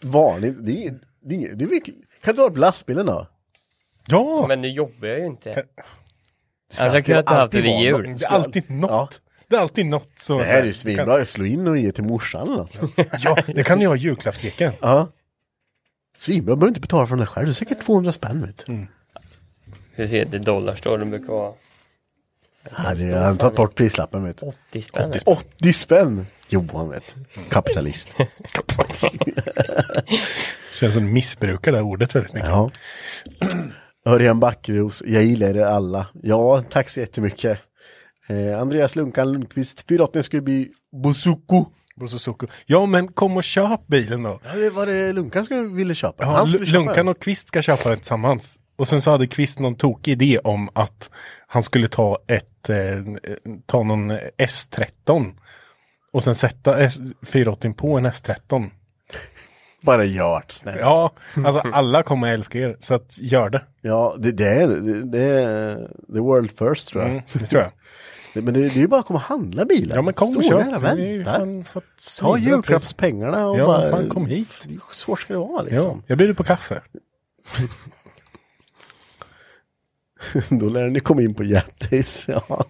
B: Vanligt, det är inget- det är inget- det är mycket- Kan du ta upp lastbilen då?
C: Ja!
D: Men nu jobbar jag ju inte.
C: Kan-
D: Alltså jag kunde inte haft det vid jul.
C: det är alltid något. Det är alltid något. som-
B: Det här är ju svinbra, slå in och ge till morsan eller något.
C: Ja, det kan ju ha i julklappsleken.
B: Ja. Svinbra, behöver inte betala för den där själv, det är säkert 200 spänn vet
C: Mm.
B: du.
D: Du ser, det är dollarstore de brukar vara.
B: Ja, det, han tar bort prislappen vet du.
D: 80 spänn.
B: 80 spänn! Johan vet du. Kapitalist.
C: Känns som missbrukar det här ordet väldigt mycket.
B: Ja. Örjan Backros, jag gillar er alla. Ja, tack så jättemycket. Eh, Andreas Lunkan Lundqvist, 480 skulle bli Bosuko.
C: Bososuku. Ja, men kom och köp bilen då.
B: Ja, det var det Lunkan skulle ville köpa?
C: Ja,
B: skulle köpa
C: Lunkan
B: den.
C: och Kvist ska köpa den tillsammans. Och sen så hade Kvist någon tokig idé om att han skulle ta ett, eh, ta någon S13 och sen sätta S- 480 på en S13.
B: Bara gör det, snälla. Ja,
C: Ja, alltså alla kommer att älska er, så att gör det.
B: det, det är det. Det är the world first tror jag.
C: Mm, det tror jag.
B: Det- Men det, det är ju bara att komma och handla bilar.
C: Ja, men kom och
B: Står
C: köp.
B: där och
C: Vi har ju
B: väntar.
C: fan fått
B: Ta
C: svinbra pris.
B: julklappspengarna och
C: Ja,
B: bara...
C: fan, kom hit.
B: Hur svårt ska det vara
C: Ja,
B: liksom?
C: jag bjuder på kaffe.
B: liksom. Då lär ni komma in på Jättis. Ja.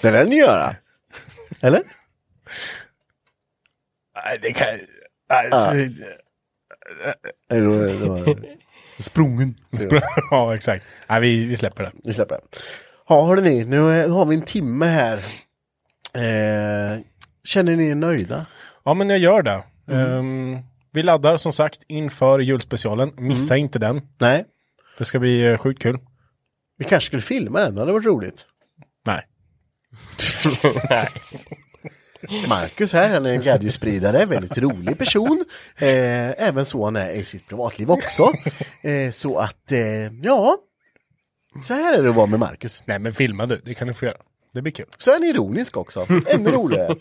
B: det lär ni göra. Eller?
C: Nej, det kan... Alltså,
B: Eller då- då- Sprungen.
C: ja, exakt. Nej, vi, vi släpper det.
B: Vi släpper det. Ja, hörrni, nu är- har vi en timme här. Eh, känner ni er nöjda?
C: Ja, men jag gör det. Ehm, vi laddar som sagt inför julspecialen. Missa inte den.
B: Nej,
C: Det ska bli eh, sjukt kul.
B: vi kanske skulle filma den, det hade varit roligt.
C: Nej.
B: Marcus här, han är en glädjespridare, väldigt rolig person. Eh, även så han är i sitt privatliv också. Eh, så att, eh, ja. Så här är det att vara med Marcus.
C: Nej, men filma du. Det kan du få göra. Det blir kul.
B: Så är han ironisk också, ännu roligare.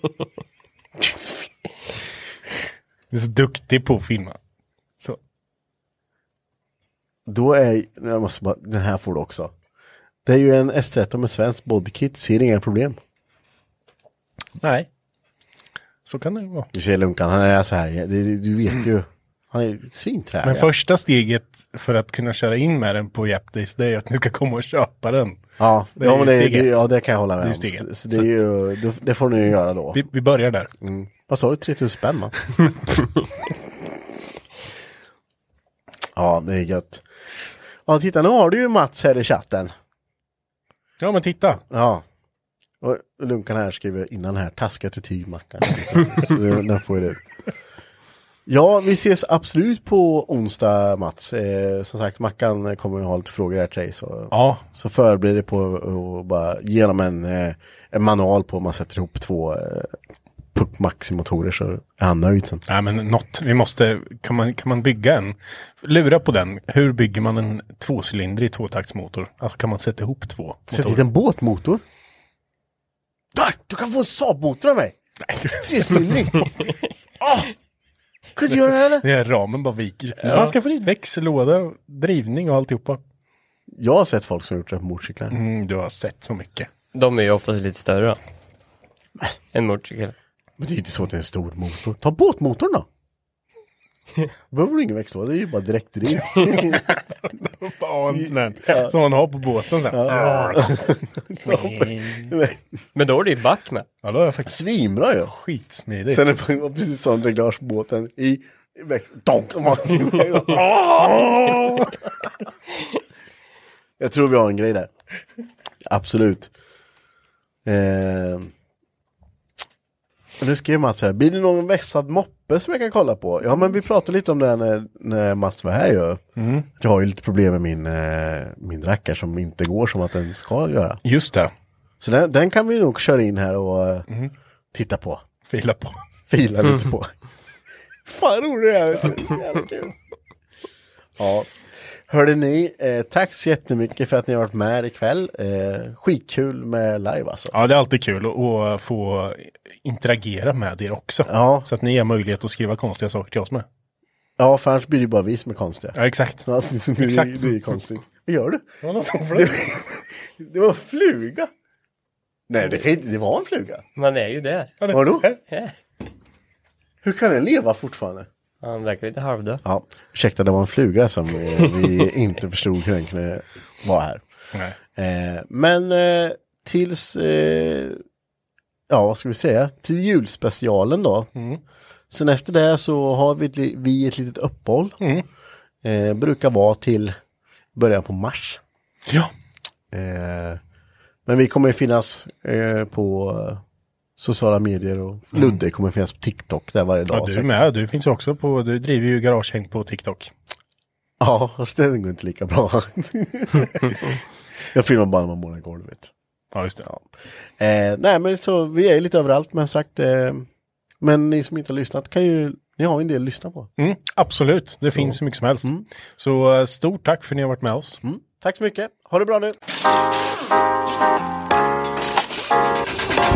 C: Du är så duktig på att filma. Så.
B: Då är, jag måste bara, den här får du också. Det är ju en S13 med svensk bodykit, ser inga problem.
C: Nej. Så kan det ju vara.
B: Du ser Lunkan, han är så här, det- det- du vet ju. Han är svinträlig.
C: Men första steget för att kunna köra in med den på Japdays, det är att ni ska komma och köpa den.
B: Ja,
C: det
B: det,
C: är
B: ja,
C: ju
B: men det,
C: steget.
B: det, ja, det kan jag hålla med
C: Det är
B: om.
C: steget.
B: Så- Så det, är ju, då- det får ni ju göra då.
C: Vi, vi börjar där.
B: Vad sa du, 3000 spänn va? ja, det är gött. Ja, titta nu har du ju Mats här i chatten.
C: Ja, men titta.
B: Ja. Och Lunkan här skriver innan här, taskiga attitydmackan. Så det- den får jag det. Ja, vi ses absolut på onsdag Mats. Eh, som sagt, Mackan kommer ju ha lite frågor här till dig. Så,
C: ja.
B: så förbered dig på att bara ge dem en, eh, en manual på hur man sätter ihop två eh, Puck Maxi-motorer så är han nöjd sen.
C: Nej men något, vi måste, kan man, kan man bygga en, lura på den, hur bygger man en tvåcylindrig tvåtaktsmotor? Alltså kan man sätta ihop två
B: Sätt
C: motorer?
B: dit en båtmotor. Tack, du kan få en Saab-motor av mig! Trestylning! Åh! Kan Ah! du inte göra det eller?
C: Den här ramen bara viker.
B: Ja.
C: Man ska få dit växellåda, drivning och alltihopa.
B: Jag har sett folk som har gjort det på motorcyklar.
C: Mm, du har sett så mycket.
D: De är ju oftast lite större. En motorcykel.
B: Men det är ju inte så att det är en stor motor. Ta båtmotorn då! Då behöver du ingen växellåda, det är ju bara direktdriv.
C: Bara en sån där Som man har på båten sen.
D: Men då är det ju back med.
C: Ja, då är jag faktiskt...
B: Svinbra ju!
C: Skitsmidigt.
B: Sen är det bara precis som reglagebåten i... i väx- Donk! Och man- Jag tror vi har en grej där. Absolut. Eh, nu skrev Mats här, blir det någon vässad moppe som jag kan kolla på? Ja men vi pratade lite om det här när, när Mats var här ju.
C: Mm.
B: Jag har ju lite problem med min, eh, min rackare som inte går som att den ska göra.
C: Just det.
B: Så den, den kan vi nog köra in här och eh, titta på.
C: Fila på.
B: Fila
C: Mm.
B: lite på. Fan rolig det här. vet du. Så jävla kul. Ja. Hörde ni, eh, tack så jättemycket för att ni har varit med ikväll. Eh, skitkul med live alltså.
C: Ja, det är alltid kul att- att få interagera med er också.
B: Ja.
C: Så att ni har möjlighet att skriva konstiga saker till oss med.
B: Ja, för annars blir det ju bara vi som är konstiga.
C: Ja, exakt.
B: Alltså, det,
C: Exakt.
B: Det är ju konstigt. Vad gör du?
C: Det var någon som
B: Det, det var en fluga. Nej, det, kan inte, det var en fluga.
D: Man är ju där.
B: Vadå? Hur kan den leva fortfarande?
D: Han verkar lite halvdöd.
B: Ja, ursäkta, det var en fluga som eh, vi inte förstod hur den kunde vara här.
C: Nej.
B: Eh, men eh, tills, eh, ja vad ska vi säga, till julspecialen då.
C: Mm.
B: Sen efter det så har vi ett, li- vi ett litet uppehåll.
C: Mm.
B: Eh, brukar vara till början på mars.
C: Ja.
B: Eh, men vi kommer ju finnas eh, på eh, sociala medier och Ludde kommer finnas på TikTok där varje dag.
C: Mm. Ja, du är
B: säkert.
C: med. Du finns ju också på, du driver ju garagehäng på TikTok.
B: Ja, fast den går inte lika bra. jag filmar bara när man målar golvet.
C: Ja, just det.
B: Eh, nej, men så vi är lite överallt, men sagt. Eh, men ni som inte har lyssnat kan ju, ni har ju en del att lyssna på.
C: Mm, absolut, det finns hur mycket som helst. Så eh, stort tack för att ni har varit med oss.
B: Tack så mycket, ha det bra nu!